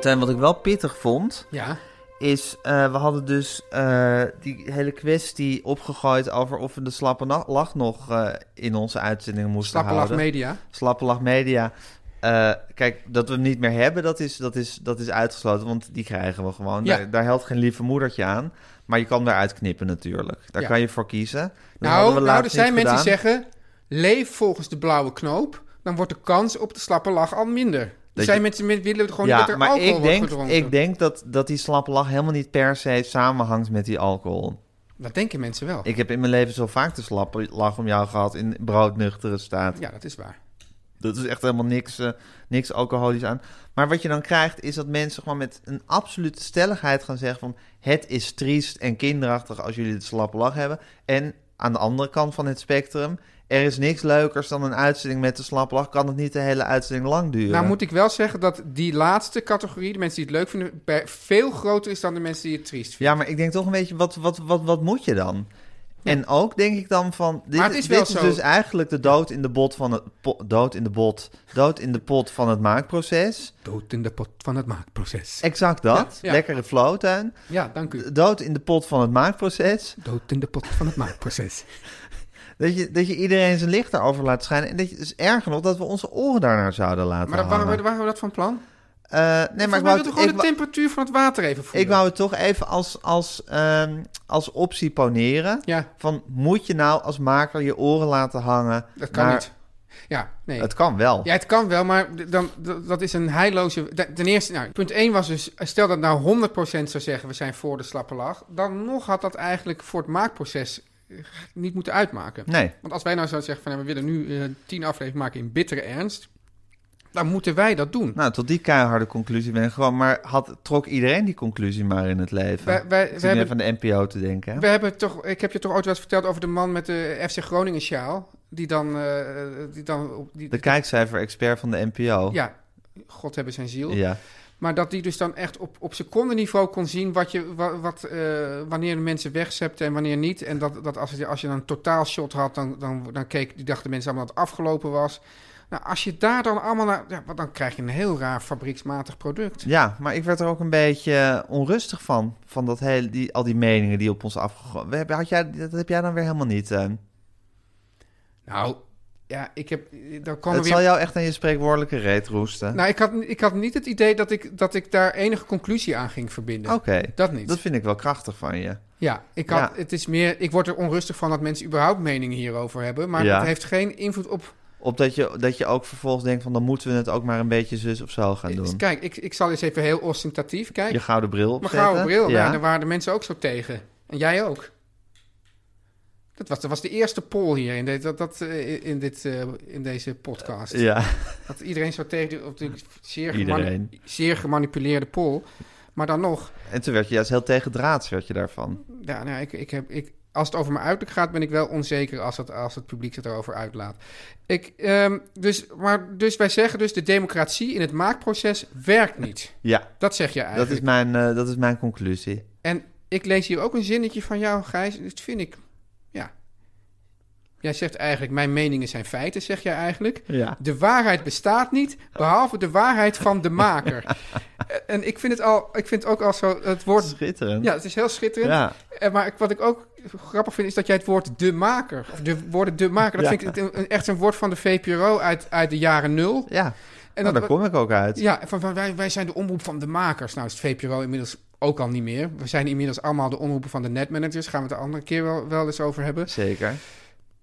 S2: Teun, wat ik wel pittig vond,
S1: Ja.
S2: is eh, we hadden dus eh, die hele kwestie opgegooid over of we de slappe na- lach nog eh, in onze uitzendingen moesten
S1: Slappelach
S2: houden.
S1: Media.
S2: Slappe lach media. Eh, kijk, dat we hem niet meer hebben, dat is, dat is, dat is uitgesloten, want die krijgen we gewoon.
S1: Ja.
S2: Daar, daar helpt geen lieve moedertje aan. Maar je kan eruit knippen natuurlijk. Daar
S1: Ja.
S2: kan je voor kiezen. Dat hadden
S1: Nou,
S2: we
S1: nou,
S2: laatst
S1: er zijn
S2: niet
S1: mensen die
S2: gedaan.
S1: zeggen... leef volgens de blauwe knoop... dan wordt de kans op de slappe lach al minder. Er
S2: Dat
S1: zijn
S2: je-
S1: mensen die willen gewoon
S2: Ja,
S1: dat er
S2: maar
S1: alcohol
S2: ik denk,
S1: wordt gedronken.
S2: ik denk dat, dat die slappe lach helemaal niet per se samenhangt met die alcohol.
S1: Dat denken mensen wel.
S2: Ik heb in mijn leven zo vaak de slappe lach om jou gehad in broodnuchtere staat.
S1: Ja, dat is waar.
S2: Dat is echt helemaal niks, eh, niks alcoholisch aan. Maar wat je dan krijgt is dat mensen gewoon met een absolute stelligheid gaan zeggen van... het is triest en kinderachtig als jullie de slappe lach hebben. En aan de andere kant van het spectrum... er is niks leukers dan een uitzending met de slappe lach. Kan het niet de hele uitzending lang duren?
S1: Nou moet ik wel zeggen dat die laatste categorie, de mensen die het leuk vinden, bij- veel groter is dan de mensen die het triest vinden.
S2: Ja, maar ik denk toch een beetje, wat, wat, wat, wat moet je dan? En ook denk ik dan van, dit,
S1: Maar het
S2: is,
S1: is wel
S2: dit is
S1: zo.
S2: dus eigenlijk de dood in de bot van het po- dood in de bot, dood in de pot van het maakproces.
S1: Dood in de pot van het maakproces.
S2: Exact dat.
S1: Ja, ja.
S2: Lekkere flowtuin.
S1: ja, dank u.
S2: Dood in de pot van het maakproces.
S1: Dood in de pot van het maakproces.
S2: Dat je, dat je iedereen zijn licht daarover laat schijnen. En dat je, dus erger nog, dat we onze oren daarnaar zouden laten
S1: Maar daar
S2: hangen.
S1: waren, we, waren we dat van plan?
S2: Eh, nee, maar ik
S1: Volgens mij
S2: wou,
S1: wilden we
S2: het-
S1: gewoon
S2: ik,
S1: de
S2: wou-
S1: temperatuur van het water even voelen.
S2: ik wou het toch even als, als, ehm, als optie poneren.
S1: Ja,
S2: Van, moet je nou als maker je oren laten hangen?
S1: dat kan
S2: naar-
S1: niet. Ja, nee.
S2: Het kan wel.
S1: Ja, het kan wel, maar d- dan, d- dat is een heilloze... d- Ten eerste, nou, punt 1 was dus... Stel dat nou 100% zou zeggen, we zijn voor de slappe lach... dan nog had dat eigenlijk voor het maakproces eh, niet moeten uitmaken.
S2: Nee.
S1: Want als wij nou zouden zeggen van... nou, we willen nu eh, 10 afleveringen maken in bittere ernst... dan moeten wij dat doen.
S2: Nou, tot die keiharde conclusie ben ik gewoon. Maar had, trok iedereen die conclusie maar in het leven?
S1: Wij- wij-
S2: ik
S1: we
S2: zit nu
S1: hebben-
S2: even aan de NPO te denken. hè?
S1: We hebben toch, ik heb je toch ooit wel eens verteld over de man met de FC Groningen sjaal... die dan... eh, die dan op, die,
S2: De kijkcijfer-expert van de NPO.
S1: ja, God hebben zijn ziel...
S2: Ja.
S1: Maar dat die dus dan echt op, op secondeniveau kon zien wat je, wa- wat, eh, wanneer de mensen wegzepten en wanneer niet. En dat, dat als, je, als je dan een totaalshot had, dan, dan, dan keek, die dachten mensen allemaal dat het afgelopen was. Nou, als je daar dan allemaal naar... Ja, want dan krijg je een heel raar fabrieksmatig product.
S2: Ja, maar ik werd er ook een beetje onrustig van. Van dat hele, die, al die meningen die op ons afgegooid we hebben. Had jij, dat heb jij dan weer helemaal niet. eh. Teun.
S1: Nou, ja, ik heb... Dan kwam er
S2: Het
S1: weer...
S2: zal jou echt aan je spreekwoordelijke reet roesten.
S1: Nou, ik had, ik had niet het idee dat ik, dat ik daar enige conclusie aan ging verbinden.
S2: Oké,
S1: Dat niet.
S2: dat vind ik wel krachtig van je.
S1: Ja, ik had,
S2: Ja.
S1: Het is meer, ik word er onrustig van dat mensen überhaupt meningen hierover hebben. Maar
S2: Ja.
S1: het heeft geen invloed op
S2: Op dat je, dat je ook vervolgens denkt van dan moeten we het ook maar een beetje zus of zo gaan doen.
S1: Kijk, ik, ik zal eens even heel ostentatief kijken.
S2: Je gouden bril
S1: Mijn
S2: opzetten.
S1: gouden bril,
S2: ja.
S1: ja. daar waren de mensen ook zo tegen. En jij ook. Dat was, dat was de eerste poll hier in, de, dat, dat, eh, in, dit, eh, in deze podcast.
S2: Ja,
S1: Dat iedereen zo tegen... die- Op de zeer,
S2: Iedereen.
S1: gemani- zeer gemanipuleerde poll. Maar dan nog...
S2: en toen werd je juist heel tegendraads werd je daarvan.
S1: Ja, nou, ik, ik heb, ik, als het over mijn uiterlijk gaat, ben ik wel onzeker als het, als het publiek het erover uitlaat. Ik, ehm, dus, maar, dus wij zeggen dus de democratie in het maakproces werkt niet.
S2: Ja,
S1: Dat zeg je eigenlijk.
S2: dat is, mijn, eh, dat is mijn conclusie.
S1: En ik lees hier ook een zinnetje van jou, Gijs. Dat vind ik, ja. Jij zegt eigenlijk, mijn meningen zijn feiten, zeg jij eigenlijk.
S2: Ja.
S1: De waarheid bestaat niet, behalve de waarheid van de maker. en ik vind het al, ik vind het ook al zo, het woord...
S2: Schitterend.
S1: Ja, het is heel schitterend.
S2: Ja.
S1: En, maar ik- wat ik ook grappig vind, is dat jij het woord de maker, of de woorden de maker, dat
S2: Ja.
S1: vind ik een- een- echt een woord van de VPRO uit, uit de jaren nul.
S2: Ja.
S1: En
S2: nou,
S1: dat-
S2: daar kom ik ook uit.
S1: ja, van, van wij, wij zijn de omroep van de makers. Nou is het VPRO inmiddels ook al niet meer. We zijn inmiddels allemaal de omroepen van de netmanagers. Gaan we het de andere keer wel, wel eens over hebben.
S2: Zeker.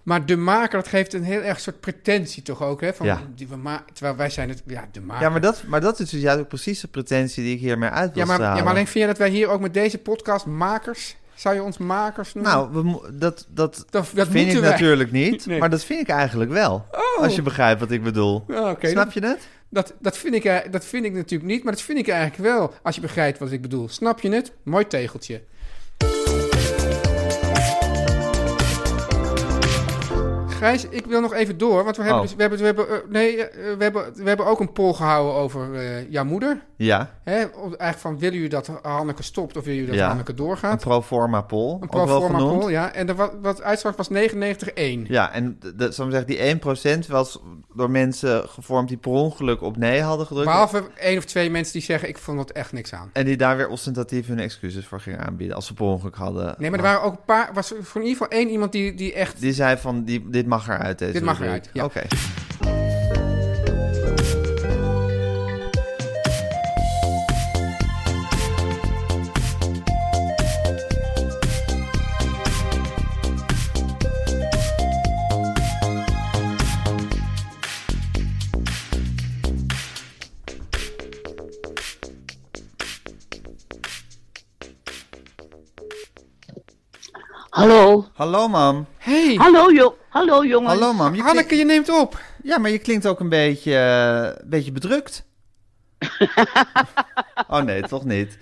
S1: Maar de maker, dat geeft een heel erg soort pretentie toch ook, hè? Van,
S2: Ja.
S1: die, we ma- terwijl wij zijn het, ja, de maker.
S2: Ja, maar dat, maar dat is dus juist ook precies de pretentie die ik hiermee uit wil
S1: ja, maar, ja,
S2: stralen.
S1: maar alleen vind je dat wij hier ook met deze podcast makers... Zou je ons makers noemen?
S2: Nou, we, mo- dat, dat,
S1: dat, dat
S2: vind ik
S1: moeten wij.
S2: natuurlijk niet,
S1: Nee.
S2: maar dat vind ik eigenlijk wel.
S1: Oh.
S2: Als je begrijpt wat ik bedoel.
S1: Ja, Ah, oké,
S2: Snap
S1: dat-
S2: je het?
S1: Dat, dat, vind ik, eh, dat vind ik natuurlijk niet, maar dat vind ik eigenlijk wel. Als je begrijpt wat ik bedoel. Snap je het? Mooi tegeltje. Gijs, ik wil nog even door, want we hebben,
S2: Oh.
S1: dus- we hebben, we hebben, eh, nee, eh, we hebben, we hebben ook een poll gehouden over eh, jouw moeder.
S2: Ja,
S1: Hè? Op- Eigenlijk van, willen jullie dat Hanneke stopt of willen jullie dat
S2: Ja.
S1: Hanneke
S2: een
S1: doorgaat?
S2: pro forma poll,
S1: Een
S2: ook wel
S1: pro-forma
S2: genoemd.
S1: poll, ja. En de, wat, wat uitslag was 99-1.
S2: Ja, en d- d- zal ik maar zeggen, die 1% was door mensen gevormd die per ongeluk op nee hadden gedrukt.
S1: Behalve één of twee mensen die zeggen, ik vond het echt niks aan.
S2: En die daar weer ostentatief hun excuses voor gingen aanbieden als ze per ongeluk hadden.
S1: Nee, maar er waren ook een paar. Was er voor in ieder geval één iemand die, die echt.
S2: Die zei van, die, dit mag eruit deze
S1: Dit mag
S2: rubriek.
S1: eruit, ja.
S2: Oké.
S5: Hallo.
S2: Hallo mam.
S1: Hey,
S5: Hallo, jo Hallo jongens.
S2: Hallo mam. Je
S1: Hanneke, je neemt op.
S2: klinkt- Ja, maar je klinkt ook een beetje, eh, een beetje bedrukt. oh nee, toch niet.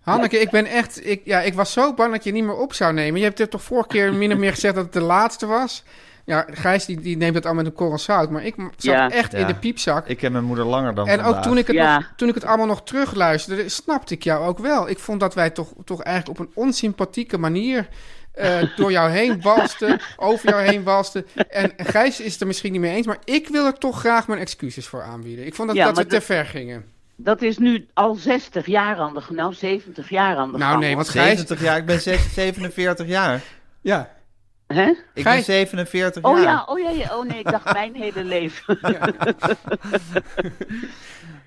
S1: Hanneke, ik ben echt. Ik, ja, ik was zo bang dat je niet meer op zou nemen. Je hebt het toch vorige keer min of meer gezegd dat het de laatste was. Ja, Gijs die, die neemt dat al met een korrel zout. Maar ik m- zat
S5: Ja.
S1: echt
S2: Ja.
S1: in de piepzak.
S2: Ik ken mijn moeder langer dan
S1: en
S2: vandaag.
S1: ook toen ik, het
S5: Ja.
S1: nog- toen ik het allemaal nog terugluisterde, snapte ik jou ook wel. Ik vond dat wij toch, toch eigenlijk op een onsympathieke manier eh, door jou heen walste, over jou heen walste. En Gijs is het er misschien niet mee eens, maar ik wil er toch graag mijn excuses voor aanbieden. Ik vond dat,
S5: Ja,
S1: dat we
S5: maar
S1: te
S5: dat-
S1: ver gingen.
S5: Dat is nu al 60 jaar aan de gang, nou 70 jaar aan de
S1: Nou
S5: gang,
S1: nee, want Gijs...
S2: 70 jaar, ik ben zes- 47 jaar.
S1: Ja,
S5: hoor. Hè?
S2: Ik ben
S1: Gijs-
S2: 47
S5: Oh
S2: jaar.
S5: ja, oh ja, ja, oh nee, ik dacht mijn hele leven.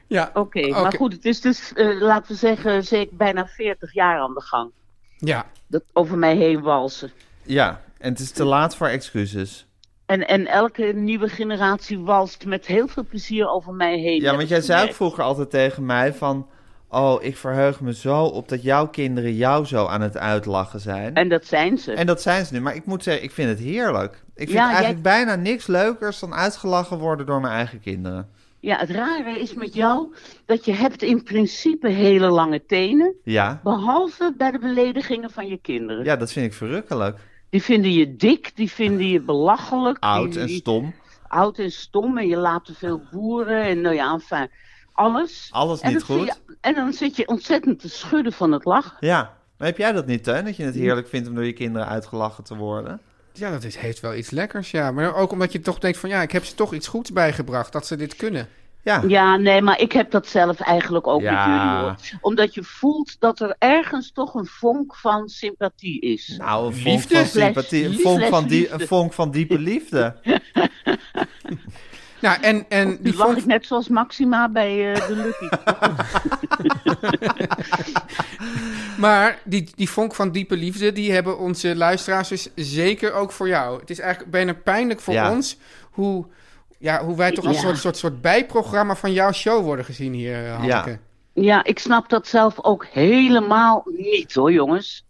S1: ja,
S5: Oké, maar
S1: Oké.
S5: goed, het is dus, eh, laten we zeggen, zeker bijna 40 jaar aan de gang.
S1: ja.
S5: Dat over mij heen walsen.
S2: Ja, en het is te laat voor excuses.
S5: En, en elke nieuwe generatie walst met heel veel plezier over mij heen.
S2: Ja,
S5: heb
S2: want
S5: ik
S2: jij zei ook
S5: gemerkt.
S2: vroeger altijd tegen mij van... Oh, ik verheug me zo op dat jouw kinderen jou zo aan het uitlachen zijn.
S5: En dat zijn ze.
S2: En dat zijn ze nu. Maar ik moet zeggen, ik vind het heerlijk. Ik vind
S5: Ja,
S2: eigenlijk bijna niks leukers dan uitgelachen worden door mijn eigen kinderen.
S5: Ja, het rare is met jou dat je hebt in principe hele lange tenen.
S2: Ja.
S5: Behalve bij de beledigingen van je kinderen.
S2: Ja, dat vind ik verrukkelijk.
S5: Die vinden je dik, die vinden je belachelijk.
S2: Oud
S5: die-
S2: en
S5: die-
S2: stom.
S5: Oud en stom en je laat te veel boeren en nou ja, enfin, alles.
S2: Alles
S5: En
S2: niet
S5: dan zie
S2: goed.
S5: je- en dan zit je ontzettend te schudden van het lachen.
S2: Ja. Maar heb jij dat niet, Teun? Dat je het heerlijk vindt om door je kinderen uitgelachen te worden?
S1: ja, dat is, heeft wel iets lekkers, ja. Maar ook omdat je toch denkt van, ja, ik heb ze toch iets goeds bijgebracht, dat ze dit kunnen.
S2: Ja.
S5: Ja, nee, maar ik heb dat zelf eigenlijk ook
S2: Ja.
S5: met jullie hoor. Omdat je voelt dat er ergens toch een vonk van sympathie is.
S2: Nou, een vonk
S1: Liefde?
S2: van sympathie. Een
S5: Liefde.
S2: vonk van, die,
S5: Liefde.
S2: een vonk van diepe liefde.
S1: Nou, en, en die
S5: Nu lach
S1: vonk...
S5: ik net zoals Maxima bij eh, de Lucky.
S1: Maar die, die vonk van diepe liefde, die hebben onze luisteraars dus zeker ook voor jou. Het is eigenlijk bijna pijnlijk voor
S2: Ja.
S1: ons hoe, ja, hoe wij toch als
S5: Ja.
S1: soort, soort, soort bijprogramma van jouw show worden gezien hier, eh, Hanneke.
S2: Ja.
S5: ja, ik snap dat zelf ook helemaal niet hoor, jongens.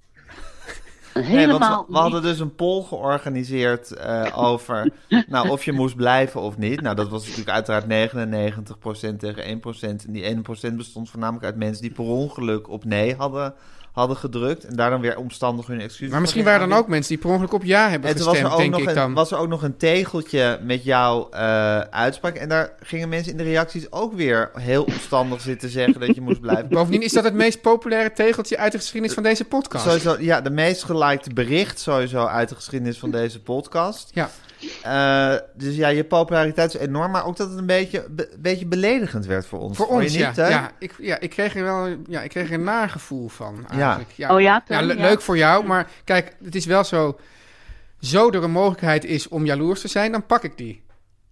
S2: Nee,
S5: Helemaal
S2: want we- we,
S5: niet.
S2: hadden dus een poll georganiseerd eh, over nou, of je moest blijven of niet. Nou, dat was natuurlijk uiteraard 99% tegen 1%. En die 1% bestond voornamelijk uit mensen die per ongeluk op nee hadden, hadden gedrukt. En daar dan weer omstandig hun excuses
S1: Maar misschien
S2: voor
S1: waren er
S2: gingen
S1: dan ook mensen die per ongeluk op ja hebben
S2: en toen was
S1: gestemd,
S2: er, ook
S1: denk
S2: nog
S1: ik
S2: een,
S1: dan.
S2: was er ook nog een tegeltje met jouw eh, uitspraak. En daar gingen mensen in de reacties ook weer heel omstandig zitten zeggen dat je moest blijven.
S1: Bovendien is dat het meest populaire tegeltje uit de geschiedenis van deze podcast.
S2: Sowieso, ja, de meest gelikte bericht sowieso uit de geschiedenis van deze podcast.
S1: Ja.
S2: Eh, dus ja, je populariteit is enorm, maar ook dat het een beetje, be- een beetje beledigend werd voor ons.
S1: Voor
S2: Vond je
S1: ons, ja.
S2: niet, hè?
S1: Ja ik, ja. ik kreeg er wel ja, ik kreeg er een naar gevoel van eigenlijk. Ja.
S5: Oh ja, Tom,
S1: le-
S5: ja.
S1: Leuk voor jou, maar kijk, het is wel zo... Zo er een mogelijkheid is om jaloers te zijn, dan pak ik die.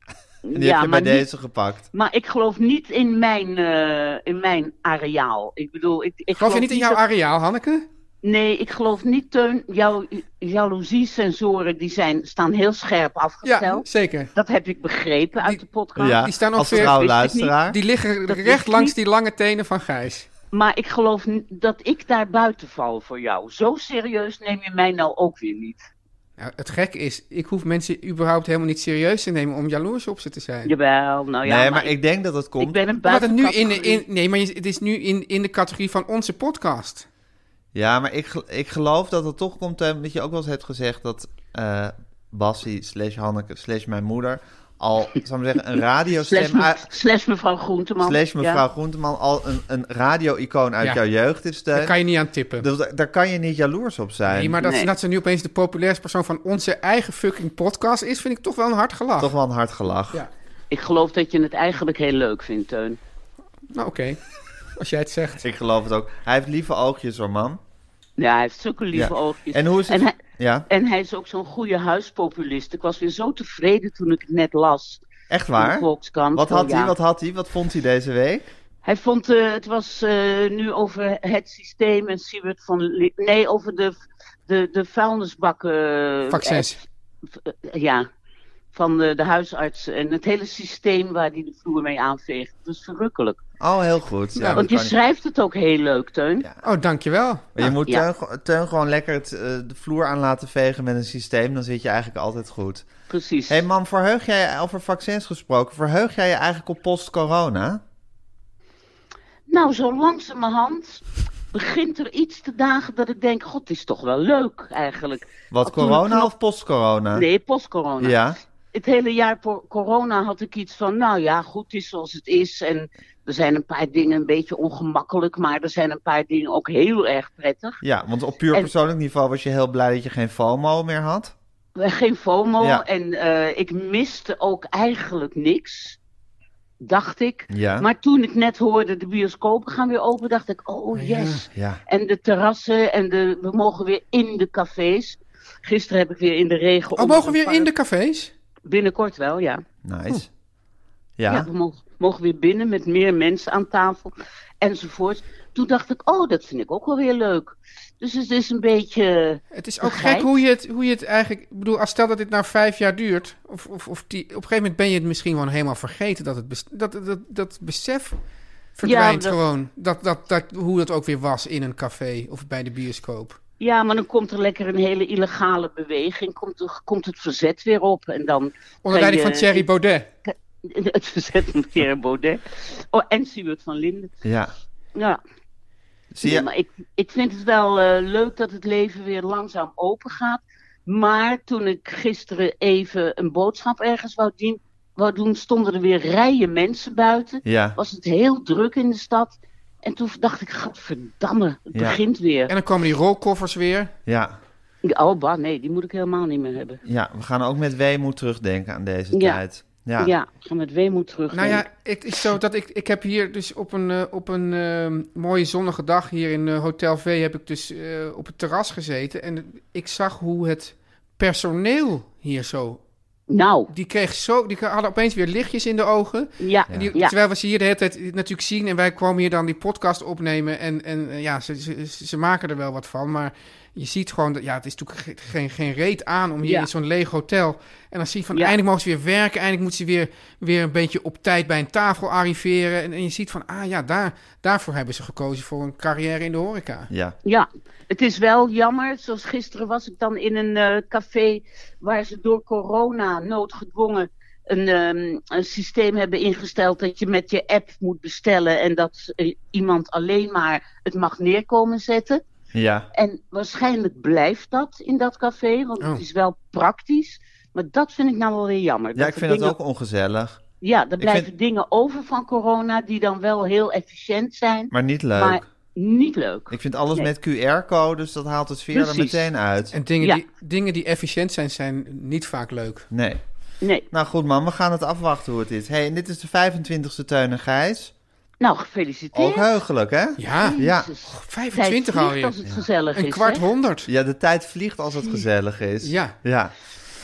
S2: En die heb je bij
S5: maar niet-
S2: deze gepakt.
S5: Maar ik geloof niet in mijn, eh, in mijn areaal. Ik bedoel, ik, ik
S1: Geloof je niet in jouw
S5: dat-
S1: areaal, Hanneke?
S5: Nee, ik geloof niet, Teun. Jouw jaloezie-sensoren die zijn, staan heel scherp
S1: Ja,
S5: afgesteld.
S1: zeker.
S5: Dat heb ik begrepen uit de podcast.
S2: Ja,
S1: die staan
S2: als
S1: ongeveer-
S2: trouw
S5: Wist ik niet.
S2: luisteraar.
S1: Die liggen
S5: Dat
S1: recht
S5: is
S1: langs
S5: niet-
S1: die lange tenen van Gijs.
S5: Maar ik geloof n- dat ik daar buiten val voor jou. Zo serieus neem je mij nou ook weer niet.
S1: Nou, het gekke is, ik hoef mensen überhaupt helemaal niet serieus te nemen om jaloers op ze te zijn.
S5: Jawel, nou ja.
S2: nee, maar ik, denk dat dat
S5: ik
S2: komt.
S5: ben een
S1: Omdat het nu in, de-
S5: buitencategorie.
S1: in, nee, maar je- het is nu in, in de categorie van onze podcast.
S2: Ja, maar ik, gel- ik geloof dat het toch komt, Teun, dat je ook wel eens hebt gezegd dat eh Bassie slash Hanneke slash mijn moeder al, zou ik maar zeggen, een
S5: Slash,
S2: radiostem
S5: me-
S2: uit...
S5: slash mevrouw Groenteman.
S2: ah. Slash
S5: Ja.
S2: mevrouw Groenteman al een, een radio-icoon uit
S1: Ja.
S2: jouw jeugd is, Teun.
S1: Daar kan je niet aan tippen.
S2: Dus da- daar kan je niet jaloers op zijn.
S1: Nee, maar dat,
S5: Nee.
S1: dat ze nu opeens de populairste persoon van onze eigen fucking podcast is, vind ik toch wel een hard gelach.
S2: Toch wel een hard gelach.
S1: Ja.
S5: Ik geloof dat je het eigenlijk heel leuk vindt, Teun.
S1: Nou, oké. Als jij het zegt.
S2: Ik geloof het ook. Hij heeft lieve oogjes hoor, man.
S5: Ja, hij heeft zulke lieve
S2: Ja.
S5: oogjes.
S2: En hoe is het?
S5: En hij,
S2: Ja,
S5: en hij is ook zo'n goede huispopulist. Ik was weer zo tevreden toen ik het net las.
S2: echt
S5: in de
S2: waar?
S5: Volkskrant.
S2: Wat
S5: Oh,
S2: had
S5: ja.
S2: hij? Wat had hij? Wat vond hij deze week?
S5: Hij vond, eh, het was eh, nu over het systeem en Siebert van... Li- nee, over de, de, de vuilnisbakken...
S1: Vaccins.
S5: eh, v- eh, ja, van de, de huisartsen en het hele systeem waar hij de vloer mee aanveegt. Dat is verrukkelijk.
S2: Oh, heel goed.
S1: Nou,
S2: Ja, dat
S5: Want je
S2: kan ik-
S5: schrijft het ook heel leuk, Teun.
S2: Ja.
S1: Oh, dankjewel.
S2: Maar je moet
S5: Ah, Ja.
S2: Teun, ge- Teun gewoon lekker het, eh, de vloer aan laten vegen met een systeem. Dan zit je eigenlijk altijd goed.
S5: Precies.
S2: Hé hey man, verheug jij over vaccins gesproken? Verheug jij je eigenlijk op post-corona?
S5: Nou, zo langzamerhand begint er iets te dagen dat ik denk... God, het is toch wel leuk eigenlijk.
S2: Wat,
S5: Toen het
S2: corona
S5: nog-
S2: of post-corona?
S5: Nee, post-corona.
S2: Ja,
S5: het hele jaar po- corona had ik iets van, nou ja, goed het is zoals het is. En Er zijn een paar dingen een beetje ongemakkelijk, maar er zijn een paar dingen ook heel erg prettig.
S2: Ja, want op puur
S5: En-
S2: persoonlijk niveau was je heel blij dat je geen FOMO meer had.
S5: Eh, Geen FOMO
S2: Ja.
S5: en eh, ik miste ook eigenlijk niks, dacht ik.
S2: Ja.
S5: Maar toen ik net hoorde de bioscopen gaan weer open, dacht ik, oh yes.
S2: Ja.
S5: En de terrassen en de, we mogen weer in de cafés. Gisteren heb ik weer in de regen...
S1: Oh,
S5: onder
S1: mogen we
S5: een
S1: weer in
S5: paraplu-
S1: de cafés?
S5: Binnenkort wel, ja.
S2: Nice.
S5: Ja.
S2: Ja.
S5: we mogen, mogen weer binnen met meer mensen aan tafel enzovoort. Toen dacht ik, oh, dat vind ik ook wel weer leuk. Dus het is een beetje.
S1: Het is ook
S5: Begrijp.
S1: gek hoe je het, hoe je het eigenlijk... Ik bedoel, als stel dat dit nou vijf jaar duurt... Of, of, of die, op een gegeven moment ben je het misschien gewoon helemaal vergeten... dat het bes- dat, dat, dat besef verdwijnt
S5: dat-
S1: gewoon. Dat, dat, dat, hoe dat ook weer was in een café of bij de bioscoop.
S5: Ja, maar dan komt er lekker een hele illegale beweging. Komt, er, komt het verzet weer op. En dan.
S1: Onder
S5: kan
S1: leiding van
S5: je-
S1: Thierry Baudet.
S5: Het verzet van Pierre Baudet. Oh, en Siewert van Linden.
S2: Ja.
S5: Ja,
S2: Zie
S5: nee,
S2: je?
S5: maar ik, ik vind het wel eh, leuk dat het leven weer langzaam open gaat. Maar toen ik gisteren even een boodschap ergens wou, dien, wou doen, stonden er weer rijen mensen buiten.
S2: Ja.
S5: was het heel druk in de stad. En toen dacht ik, gadverdamme, het
S2: Ja.
S5: begint weer.
S1: En dan komen die rolkoffers weer.
S2: Ja.
S5: Oh, bah, nee, die moet ik helemaal niet meer hebben.
S2: Ja. We gaan ook met weemoed terugdenken aan deze
S5: Ja.
S2: tijd.
S5: Ja,
S2: Ja.
S5: ik ga met weemoed terug.
S1: Nou ja, het is zo dat ik, ik heb hier dus op een, eh, op een eh, mooie zonnige dag hier in eh, Hotel V heb ik dus eh, op het terras gezeten. En ik zag hoe het personeel hier zo,
S5: Nou,
S1: die kreeg zo, die hadden opeens weer lichtjes in de ogen.
S5: ja,
S1: En die,
S5: ja.
S1: Terwijl we ze hier de hele tijd natuurlijk zien en wij kwamen hier dan die podcast opnemen. En, en eh, ja, ze, ze, ze- ze maken er wel wat van, maar je ziet gewoon, dat, ja, het is natuurlijk ge- geen, geen reet aan om hier
S5: Ja.
S1: in zo'n leeg hotel. En dan zie je van,
S5: Ja.
S1: eindelijk mogen ze weer werken, eindelijk moeten ze weer, weer een beetje op tijd bij een tafel arriveren. En, en je ziet van, ah ja, daar, daarvoor hebben ze gekozen voor een carrière in de horeca.
S2: Ja.
S5: Ja, het is wel jammer. Zoals gisteren was ik dan in een eh, café waar ze door corona noodgedwongen een, ehm, een systeem hebben ingesteld dat je met je app moet bestellen en dat eh, iemand alleen maar het mag neerkomen zetten.
S2: Ja.
S5: En waarschijnlijk blijft dat in dat café, want
S1: Oh.
S5: het is wel praktisch. Maar dat vind ik nou wel weer jammer.
S2: Ja, ik
S5: er
S2: vind dat
S5: dingen-
S2: ook ongezellig.
S5: Ja, er blijven
S2: vind-
S5: dingen over van corona die dan wel heel efficiënt zijn,
S2: Maar niet leuk.
S5: maar niet leuk.
S2: Ik vind alles
S5: Nee.
S2: met QR-codes, dat haalt het sfeer er
S5: Precies.
S2: meteen uit.
S1: En dingen,
S5: Ja.
S1: die, dingen die efficiënt zijn, zijn niet vaak leuk.
S2: Nee.
S5: Nee.
S2: Nou goed man, we gaan het afwachten hoe het is. hey, en dit is de 25e Teun en Gijs.
S5: Nou,
S2: Ook
S5: gefeliciteerd.
S2: heugelijk hè?
S1: Ja,
S2: Ja.
S5: Jezus.
S1: 25
S5: Tijd vliegt
S1: alweer.
S5: als het gezellig
S1: Een
S5: is.
S1: kwart
S5: hè?
S1: honderd.
S2: Ja, de tijd vliegt als het gezellig is.
S1: Ja.
S2: Ja.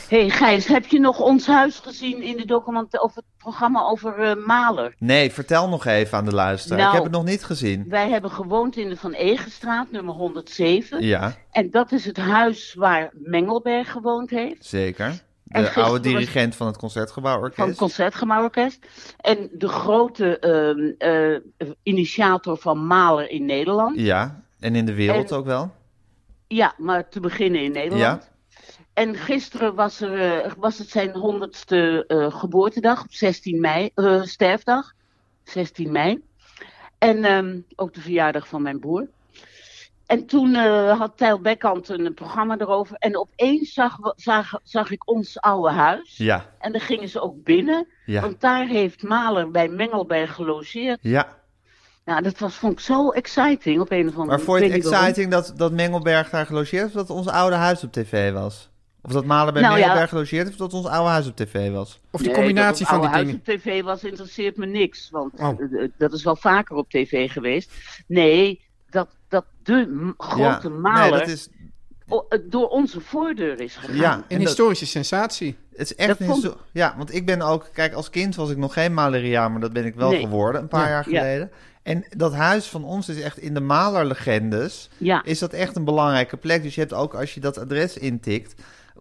S5: hey, Gijs, heb je nog ons huis gezien in de document over het programma over eh, Maler?
S2: Nee, vertel nog even aan de luisteraar.
S5: Nou.
S2: Ik heb het nog niet gezien.
S5: Wij hebben gewoond in de Van Egenstraat, nummer 107.
S2: Ja,
S5: En dat is het huis waar Mengelberg gewoond heeft.
S2: zeker.
S5: En
S2: De
S5: gisteren
S2: oude
S5: was-
S2: dirigent van het Concertgebouworkest.
S5: Van het Concertgebouworkest. En de grote ehm, eh, initiator van Maler in Nederland. Ja.
S2: Ja, en in de wereld
S5: En-
S2: ook wel.
S5: maar te beginnen in Nederland. En gisteren was, er, eh, was het zijn 100ste eh, geboortedag, op 16 mei, eh, sterfdag, 16 mei. En ehm, ook de verjaardag van mijn broer. En toen eh, had Tijl Bekkant een, een programma erover. En opeens zag, we- zag, zag ik ons oude huis.
S2: Ja,
S5: En dan gingen ze ook binnen.
S2: ja,
S5: Want daar heeft Maler bij Mengelberg gelogeerd.
S2: ja.
S5: Nou, dat was, vond ik zo exciting op een of andere
S2: Maar vond je het
S5: ik weet niet waarom.
S2: exciting dat, dat Mengelberg daar gelogeerd heeft of dat ons oude huis op tv was? Of dat Malen bij
S5: Nou, ja.
S2: Mengelberg gelogeerd heeft of dat ons oude huis op tv was?
S1: Of de
S5: Nee,
S1: combinatie
S5: dat
S1: van
S5: het
S1: die
S5: oude
S1: dingen.
S5: huis op tv was, interesseert me niks. Want
S1: Oh.
S5: eh, eh, dat is wel vaker op tv geweest. Nee, dat, dat de m- grote
S2: ja.
S5: Maler
S2: Nee, dat is,
S5: o- eh, door onze voordeur is gegaan.
S2: ja,
S1: Een
S2: en dat-
S1: historische sensatie.
S2: Het is echt
S5: Dat
S2: een
S5: vond-
S2: histo- Ja, want ik ben ook... Kijk, als kind was ik nog geen maleriaan, maar dat ben ik wel
S5: Nee.
S2: geworden een paar jaar
S5: Ja.
S2: geleden. En dat huis van ons is echt in de malerlegendes...
S5: Ja.
S2: is dat echt een belangrijke plek. Dus je hebt ook, als je dat adres intikt,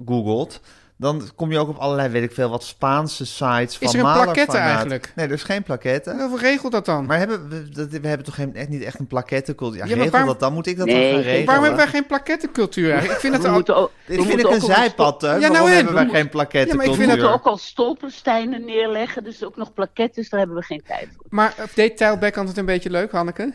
S2: googelt... dan kom je ook op allerlei, weet ik veel, wat Spaanse sites van
S1: er een
S2: malerfanaat.
S1: plaquette eigenlijk?
S2: Nee, er is geen plaquette.
S1: Hoe regelt dat dan?
S2: Maar hebben we, dat, we hebben toch geen, echt niet echt een plaquettecultuur? Ja,
S1: Ja, maar
S2: regel
S1: waarom-
S2: dat dan. Moet ik dat
S5: Nee,
S2: dan gaan
S5: geen-
S2: regelen?
S1: Waarom hebben wij geen plaquettencultuur eigenlijk? Ik vind dat
S5: We
S1: er al...
S5: moeten ook, we
S2: Dit vind ik
S5: moeten
S2: een
S5: ook al
S2: zijpad, hè?
S1: Ja,
S2: Waarom
S1: nou en?
S2: hebben wij
S1: We
S2: geen
S1: Ja, maar
S2: plaquettencultuur?
S1: ik vind
S5: We
S1: dat
S5: moeten ook al stolpersteinen neerleggen, dus ook nog plakettes, daar hebben we geen tijd voor.
S1: Maar eh, deed Tijl Bekkant het een beetje leuk, Hanneke?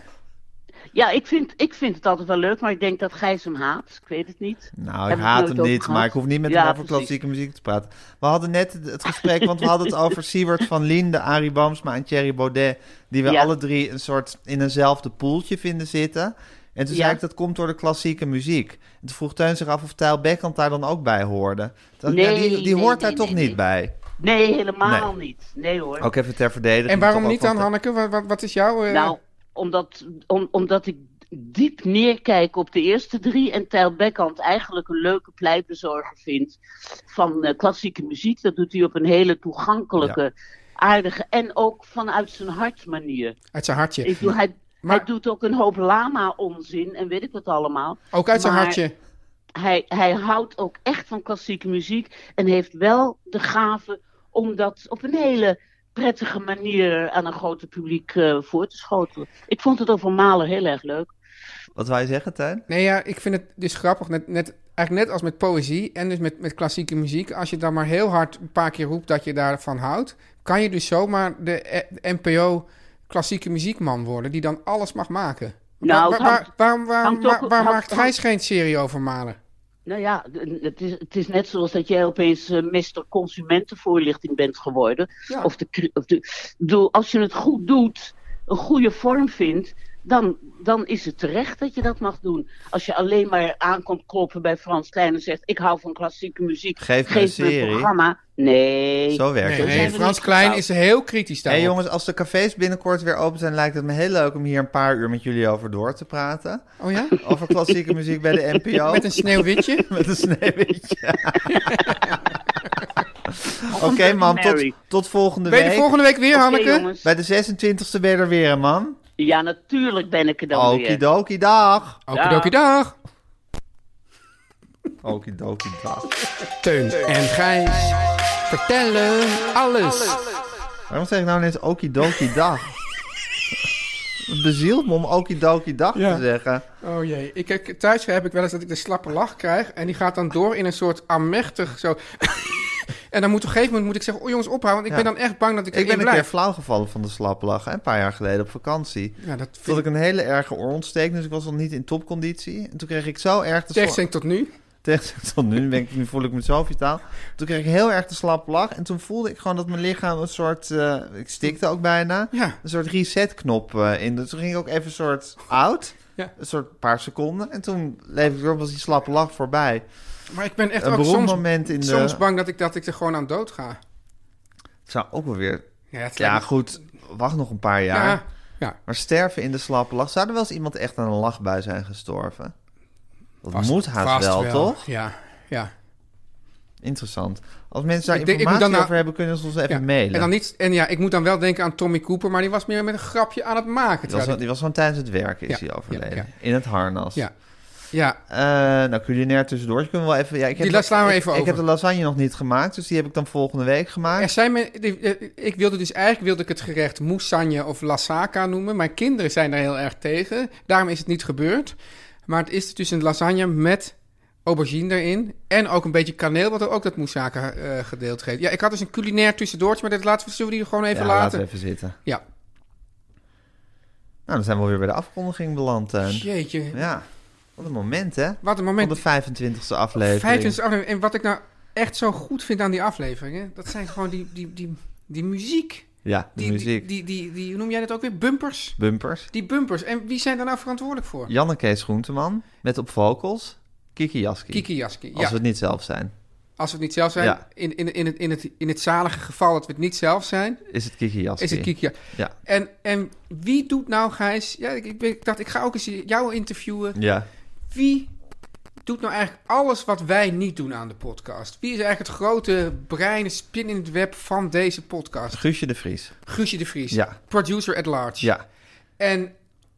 S5: Ja, ik vind, ik vind het altijd wel leuk, maar ik denk dat Gijs hem haat. Ik weet het niet.
S2: Nou, ik
S5: Heb ik
S2: haat
S5: nooit
S2: hem
S5: over
S2: niet,
S5: gehad.
S2: maar ik hoef niet met
S5: Ja,
S2: hem over
S5: precies.
S2: klassieke muziek te praten. We hadden net het- het gesprek, want we hadden het over Siewert van Linde, Arie Boomsma en Thierry Baudet, die we
S5: Ja.
S2: alle drie een soort in eenzelfde poeltje vinden zitten. En toen
S5: Ja.
S2: zei ik, dat komt door de klassieke muziek. En toen vroeg Teun zich af of Tijl Bekkant daar dan ook bij hoorde. Toen dacht ik, ja,
S5: Nee,
S2: die, die
S5: nee,
S2: hoort daar
S5: nee,
S2: toch
S5: nee,
S2: niet
S5: nee.
S2: bij.
S5: Nee, helemaal niet. Nee hoor.
S2: Ook even ter verdediging.
S1: En waarom
S2: toch
S1: niet
S2: ook
S1: dan,
S2: van-
S1: Hanneke? Wat, wat, wat is jouw... eh,
S5: Nou, omdat, om, omdat ik diep neerkijk op de eerste drie en Tijl Bekkant eigenlijk een leuke pleitbezorger vindt van eh, klassieke muziek. Dat doet hij op een hele toegankelijke, aardige en ook vanuit zijn hart manier.
S1: Uit zijn hartje.
S5: Ik bedoel, hij,
S1: Maar-
S5: hij doet ook een hoop lama-onzin en weet ik wat allemaal.
S1: Ook uit zijn
S5: maar-
S1: hartje.
S5: Hij, hij houdt ook echt van klassieke muziek en heeft wel de gave om dat op een hele prettige manier aan een groter publiek eh, voor te schotelen. Ik vond het over Malen heel erg leuk.
S2: Wat wou je zeggen, Teun?
S1: Nee, ja, ik vind het dus grappig. Net, net, eigenlijk net als met poëzie en dus met, met klassieke muziek. Als je dan maar heel hard een paar keer roept dat je daarvan houdt... kan je dus zomaar de, eh, de NPO klassieke muziekman worden... die dan alles mag maken.
S5: Nou,
S1: waar,
S5: het
S1: waar-
S5: hangt-
S1: waarom waarom-
S5: hangt
S1: waar-
S5: ook-
S1: waar
S5: hangt-
S1: maakt Gijs geen serie over Malen?
S5: Nou ja, d- het is, het is net zoals dat jij opeens eh, Mr. Consumentenvoorlichting bent geworden.
S1: Ja.
S5: Of de, cri- of de, ik bedoel, als je het goed doet, een goede vorm vindt, dan, dan is het terecht dat je dat mag doen. Als je alleen maar aankomt kloppen bij Frans Klein en zegt: Ik hou van klassieke muziek,
S2: Geef me een serie."
S5: programma. Nee.
S2: Zo werkt
S1: Nee,
S2: het.
S5: zijn
S1: nee,
S5: we
S1: Frans
S5: niet
S1: Klein
S5: getrouwd.
S1: is heel kritisch
S2: Hé
S1: daarop.
S2: jongens, als de cafés binnenkort weer open zijn, lijkt het me heel leuk om hier een paar uur met jullie over door te praten.
S1: Oh ja?
S2: Over klassieke muziek bij de NPO.
S1: Met een sneeuwwitje?
S2: Met een sneeuwwitje. Oké,
S5: Dirty
S2: man, tot,
S5: Mary.
S2: tot volgende
S1: Ben je
S2: week.
S1: er volgende week weer,
S5: Oké,
S1: Hanneke?
S5: jongens.
S2: Bij de 26e ben je er weer, hè, man.
S5: Ja, natuurlijk ben ik er dan weer.
S2: Okidoki, dag.
S1: Okidoki, dag.
S2: Okidoki, dag.
S1: Teun en Gijs vertellen alles.
S2: Waarom zeg ik nou ineens okidoki, dag? Het bezielt me om okidoki, dag
S1: Ja.
S2: te zeggen.
S1: Oh jee, ik, ik- thuis heb ik wel eens dat ik de slappe lach krijg. En die gaat dan door in een soort amechtig zo. en dan moet op een gegeven moment moet ik zeggen, oh jongens, ophouden. Want ik
S2: Ja.
S1: ben dan echt bang dat ik,
S2: Ik ben een keer
S1: blijf.
S2: flauw gevallen van de slaplachen, hè, een paar jaar geleden op vakantie.
S1: Ja, dat
S2: Toen
S1: vind
S2: had
S1: ik
S2: ik een hele erge oorontsteking, dus ik was nog niet in topconditie. En toen kreeg ik zo erg de sla-
S1: tegenstelling tot nu.
S2: Tegen tot nu, ben ik, nu voel ik me zo vitaal. Toen kreeg ik heel erg de slap lach. En toen voelde ik gewoon dat mijn lichaam een soort... eh, ik stikte ook bijna.
S1: Ja.
S2: Een soort resetknop eh, in. Dus toen ging ik ook even een soort out.
S1: Ja.
S2: Een soort paar seconden. En toen leefde ik weer, was die slappe lach voorbij.
S1: Maar ik ben echt
S2: Een
S1: ook
S2: beroemd
S1: soms,
S2: moment in de-
S1: soms bang dat ik, dat ik er gewoon aan dood ga.
S2: Het zou ook wel weer...
S1: Ja, het
S2: Ja,
S1: lijkt me-
S2: goed. Wacht nog een paar jaar.
S1: Ja, ja.
S2: Maar sterven in de slappe lach. Zou er wel eens iemand echt aan een lachbui zijn gestorven? Dat
S1: Vast-
S2: moet haast
S1: vast
S2: wel, toch?
S1: Ja, ja.
S2: Interessant. Als mensen daar
S1: Ik denk- ik moet
S2: informatie
S1: dan
S2: over
S1: nou-
S2: hebben, kunnen ze ons
S1: ja.
S2: even mailen.
S1: En, dan niet, en ja, ik moet dan wel denken aan Tommy Cooper, maar die was meer met een grapje aan het maken.
S2: Die was,
S1: terwijl
S2: wel- die was gewoon tijdens het werken is
S1: Ja,
S2: hij overleden.
S1: ja, ja.
S2: In het harnas.
S1: Ja. Ja,
S2: Eh, nou, culinair tussendoor. Kunnen we wel even, ja, ik heb
S1: Die
S2: la-
S1: slaan we
S2: ik-
S1: even
S2: Ik
S1: over.
S2: heb de lasagne nog niet gemaakt, dus die heb ik dan volgende week
S1: Er
S2: gemaakt.
S1: zijn men- die- eh, ik wilde dus eigenlijk wilde ik het gerecht moussanje of lasaka noemen. Mijn kinderen zijn er heel erg tegen. Daarom is het niet gebeurd. Maar het is dus een lasagne met aubergine erin. En ook een beetje kaneel, wat er ook dat moussaka eh gedeeld geeft. Ja, ik had dus een culinair tussendoortje, maar dat laten we, zullen we die gewoon even
S2: ja, laten
S1: laten.
S2: we even zitten.
S1: Ja.
S2: Nou, dan zijn we weer bij de afkondiging beland. Teun.
S1: Jeetje.
S2: Ja, wat een moment hè?
S1: Wat een
S2: Van
S1: moment.
S2: de 25e aflevering.
S1: 25 aflevering. En wat ik nou echt zo goed vind aan die afleveringen, dat zijn gewoon die, die, die, die muziek.
S2: Ja, de
S1: Die,
S2: muziek.
S1: Die, die, die, die- hoe noem jij dat ook weer? Bumpers?
S2: Bumpers.
S1: Die bumpers. En wie zijn daar nou verantwoordelijk voor?
S2: Janneke Schoenteman met op vocals Kiki Jaski.
S1: Kiki Jaski.
S2: Als
S1: ja.
S2: we het niet zelf zijn,
S1: Als we het niet zelf zijn,
S2: Ja.
S1: in, in, in, het, in, het, in het zalige geval dat we het niet zelf zijn,
S2: is het Kiki Jaski.
S1: is het Kiki.
S2: Ja.
S1: En, en wie doet nou, Gijs? Ja, ik, ik, ben- ik dacht, ik ga ook eens jou interviewen.
S2: Ja.
S1: Wie doet nou eigenlijk alles wat wij niet doen aan de podcast? Wie is eigenlijk het grote brein, spin in het web van deze podcast?
S2: Guusje de Vries.
S1: Guusje de Vries,
S2: Ja.
S1: producer at large.
S2: Ja.
S1: En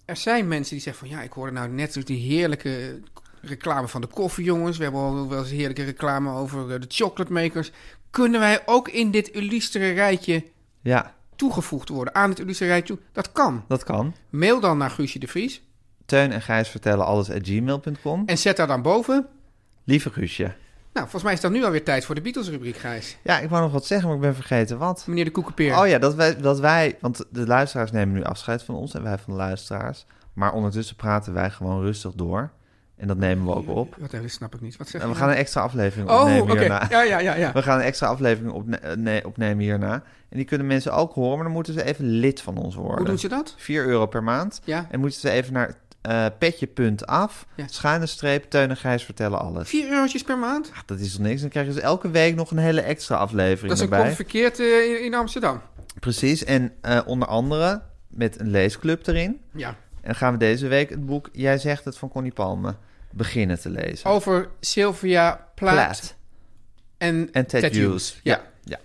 S1: er zijn mensen die zeggen van ja, ik hoorde nou net die heerlijke reclame van de koffie, jongens. We hebben al wel eens heerlijke reclame over eh, de chocolate makers. Kunnen wij ook in dit illustere rijtje
S2: Ja,
S1: toegevoegd worden? Aan het illustere rijtje toe? Dat kan.
S2: dat kan.
S1: Mail dan naar Guusje de Vries
S2: Teun en Gijs vertellen alles at gmail.com.
S1: en zet daar dan boven.
S2: Lieve Guusje.
S1: Nou, volgens mij is dat nu alweer tijd voor de Beatles-rubriek, Gijs.
S2: Ja, ik wou nog wat zeggen, maar ik ben vergeten wat.
S1: Meneer de Koekenpeer.
S2: Oh ja, dat wij, dat wij, want de luisteraars nemen nu afscheid van ons en wij van de luisteraars. Maar ondertussen praten wij gewoon rustig door. En dat nemen we ook op.
S1: Wat even, snap ik niet. Wat zeg
S2: En
S1: je
S2: we
S1: nou?
S2: gaan een extra aflevering
S1: Oh,
S2: opnemen
S1: oké.
S2: hierna.
S1: Ja, ja, ja, ja.
S2: We gaan een extra aflevering opne- eh, nee, opnemen hierna. En die kunnen mensen ook horen, maar dan moeten ze even lid van ons worden.
S1: Hoe doen ze dat?
S2: 4 euro per maand.
S1: Ja.
S2: En moeten ze even naar eh, petje.af,
S1: Ja.
S2: schuine streep, Teun en Gijs vertellen alles.
S1: Vier eurotjes per maand?
S2: Ach, dat is toch niks? Dan krijgen ze elke week nog een hele extra aflevering
S1: Dat is een
S2: erbij.
S1: kop verkeerd eh, in- in Amsterdam.
S2: Precies, en eh, onder andere met een leesclub erin.
S1: Ja.
S2: En dan gaan we deze week het boek Jij zegt het van Connie Palme beginnen te lezen.
S1: Over Sylvia Plaat, en,
S2: En Ted, Hughes.
S1: Ja.
S2: ja.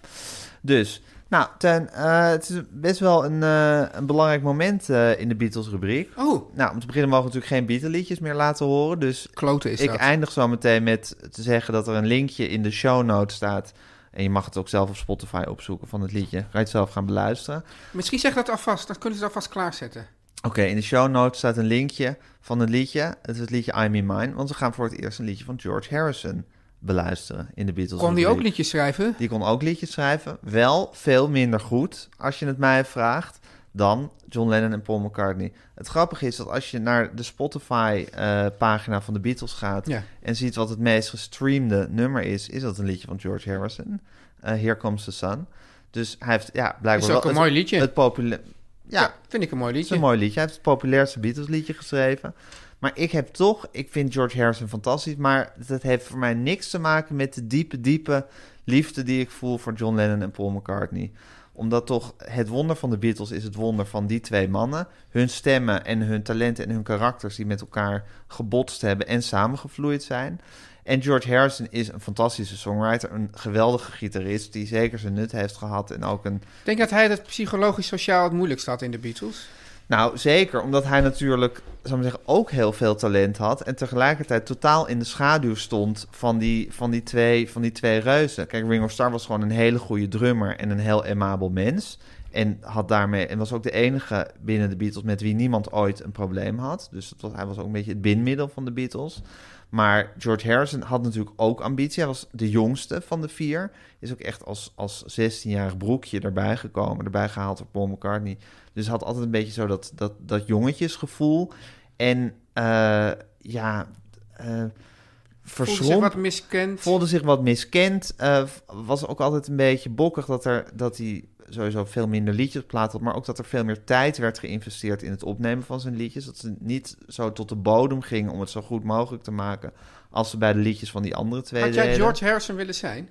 S2: Dus, nou, ten, het is best wel een, eh, een belangrijk moment eh, in de Beatles-rubriek.
S1: Oh,
S2: Nou, om te beginnen mogen we natuurlijk geen Beatle-liedjes meer laten horen. Dus
S1: kloten is
S2: ik
S1: dat.
S2: eindig zo meteen met te zeggen dat er een linkje in de show notes staat. En je mag het ook zelf op Spotify opzoeken van het liedje. Ga je het zelf gaan beluisteren.
S1: Misschien zeg dat alvast. Dan kunnen ze dat alvast klaarzetten.
S2: Oké, in de show notes staat een linkje van het liedje. Het is het liedje I'm in Mine. Want we gaan voor het eerst een liedje van George Harrison beluisteren in de Beatles.
S1: Kon die ook
S2: rubriek.
S1: liedjes schrijven?
S2: Die kon ook liedjes schrijven. Wel veel minder goed, als je het mij vraagt, dan John Lennon en Paul McCartney. Het grappige is dat als je naar de Spotify-pagina van de Beatles gaat...
S1: Ja.
S2: en ziet wat het meest gestreamde nummer is... is dat een liedje van George Harrison, eh, Here Comes the Sun. Dus hij heeft ja, blijkbaar
S1: Is ook
S2: wel
S1: een
S2: het,
S1: mooi liedje.
S2: Het populair... Ja,
S1: Vind ik een mooi
S2: het is
S1: liedje.
S2: een mooi liedje. Hij heeft het populairste Beatles-liedje geschreven. Maar ik heb toch, ik vind George Harrison fantastisch, maar dat heeft voor mij niks te maken met de diepe, diepe liefde die ik voel voor John Lennon en Paul McCartney. Omdat toch het wonder van de Beatles is het wonder van die twee mannen. Hun stemmen en hun talenten en hun karakters die met elkaar gebotst hebben en samengevloeid zijn. En George Harrison is een fantastische songwriter, een geweldige gitarist die zeker zijn nut heeft gehad en ook een
S1: Ik denk dat hij dat psychologisch sociaal het moeilijkst had in de Beatles.
S2: nou, zeker. Omdat hij natuurlijk, zou ik maar zeggen, ook heel veel talent had. En tegelijkertijd totaal in de schaduw stond van die, van die, twee, van die twee reuzen. Kijk, Ringo Starr was gewoon een hele goede drummer en een heel amabel mens. En, had daarmee, en was ook de enige binnen de Beatles met wie niemand ooit een probleem had. Dus dat was, hij was ook een beetje het binmiddel van de Beatles. Maar George Harrison had natuurlijk ook ambitie. Hij was de jongste van de vier. Is ook echt als, als 16-jarig broekje erbij gekomen. Erbij gehaald door Paul McCartney. Dus hij had altijd een beetje zo dat, dat, dat jongetjesgevoel. En eh, ja, eh
S1: Voelde zich
S2: verschrompeld
S1: wat miskend.
S2: voelde zich wat miskend. eh, was ook altijd een beetje bokkig dat, er, dat hij sowieso veel minder liedjes op plaat had. Maar ook dat er veel meer tijd werd geïnvesteerd in het opnemen van zijn liedjes. Dat ze niet zo tot de bodem gingen om het zo goed mogelijk te maken. als ze bij de liedjes van die andere twee
S1: Had jij
S2: deden.
S1: George Harrison willen zijn?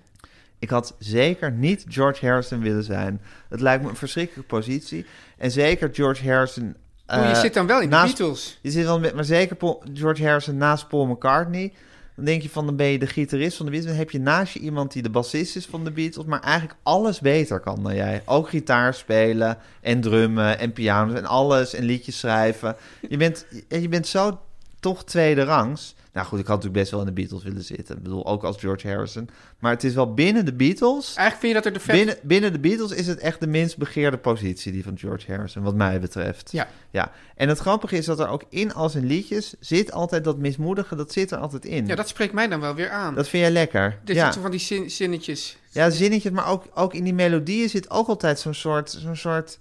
S2: Ik had zeker niet George Harrison willen zijn. Het lijkt me een verschrikkelijke positie. En zeker George Harrison.
S1: Oh, je
S2: eh,
S1: zit dan wel in de
S2: naast-
S1: Beatles.
S2: je zit wel met, maar zeker Paul- George Harrison naast Paul McCartney. Dan denk je van, dan ben je de gitarist van de Beatles. Dan heb je naast je iemand die de bassist is van de Beatles. Maar eigenlijk alles beter kan dan jij. Ook gitaar spelen en drummen en piano's en alles. En liedjes schrijven. Je bent, je, je bent zo toch tweede rangs. Nou goed, ik had natuurlijk best wel in de Beatles willen zitten. Ik bedoel, ook als George Harrison. Maar het is wel binnen de Beatles.
S1: Eigenlijk vind je dat er de vet...
S2: Binnen, binnen de Beatles is het echt de minst begeerde positie, die van George Harrison, wat mij betreft.
S1: Ja.
S2: ja. En het grappige is dat er ook in al zijn liedjes zit altijd dat mismoedige, dat zit er altijd in.
S1: Ja, dat spreekt mij dan wel weer aan.
S2: Dat vind jij lekker.
S1: Dit
S2: ja.
S1: zitten van die zin- zinnetjes.
S2: ja, zinnetjes, maar ook, ook in die melodieën zit ook altijd zo'n soort, zo'n soort,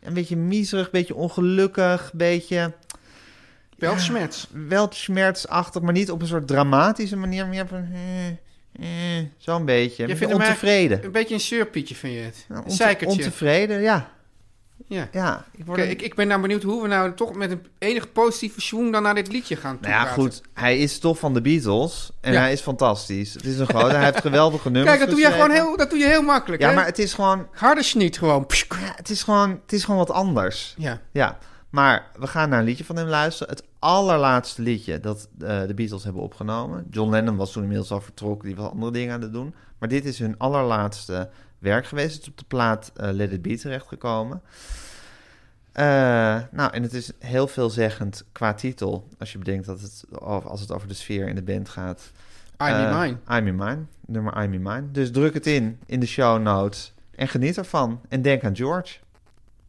S2: een beetje miezerig, beetje ongelukkig, beetje
S1: Wel smets.
S2: wel schmertsachtig, maar niet op een soort dramatische manier, meer van eh, eh, zo'n beetje.
S1: Je
S2: Beetje
S1: vindt hem
S2: ontevreden.
S1: Een beetje een surpietje vind je het.
S2: Nou,
S1: Een
S2: onte-
S1: zeikertje.
S2: ontevreden, ja.
S1: Ja.
S2: Ja, ik word
S1: Oké,
S2: een-
S1: ik, ik ben nou benieuwd hoe we nou toch met een enig positieve schwung dan naar dit liedje gaan
S2: Nou ja,
S1: toepraten.
S2: goed. Hij is toch van de Beatles. En
S1: Ja.
S2: hij is fantastisch. Het is een grote. hij heeft geweldige nummers.
S1: Kijk, dat doe, jij gewoon
S2: geschreven.
S1: heel, dat doe je heel makkelijk,
S2: Ja,
S1: hè?
S2: maar het is gewoon.
S1: Harde sniet gewoon.
S2: Ja, het, is gewoon het is gewoon wat anders.
S1: Ja.
S2: Ja. Maar we gaan naar een liedje van hem luisteren. Het allerlaatste liedje dat eh, de Beatles hebben opgenomen. John Lennon was toen inmiddels al vertrokken. Die was andere dingen aan het doen. Maar dit is hun allerlaatste werk geweest. Het is op de plaat eh, Let It Be terechtgekomen. Eh, nou, en het is heel veelzeggend qua titel. Als je bedenkt dat het, of als het over de sfeer in de band gaat.
S1: I'm in
S2: Eh,
S1: mine.
S2: I'm in mine. Nummer I'm in mine. Dus druk het in, in de show notes. En geniet ervan. En denk aan George.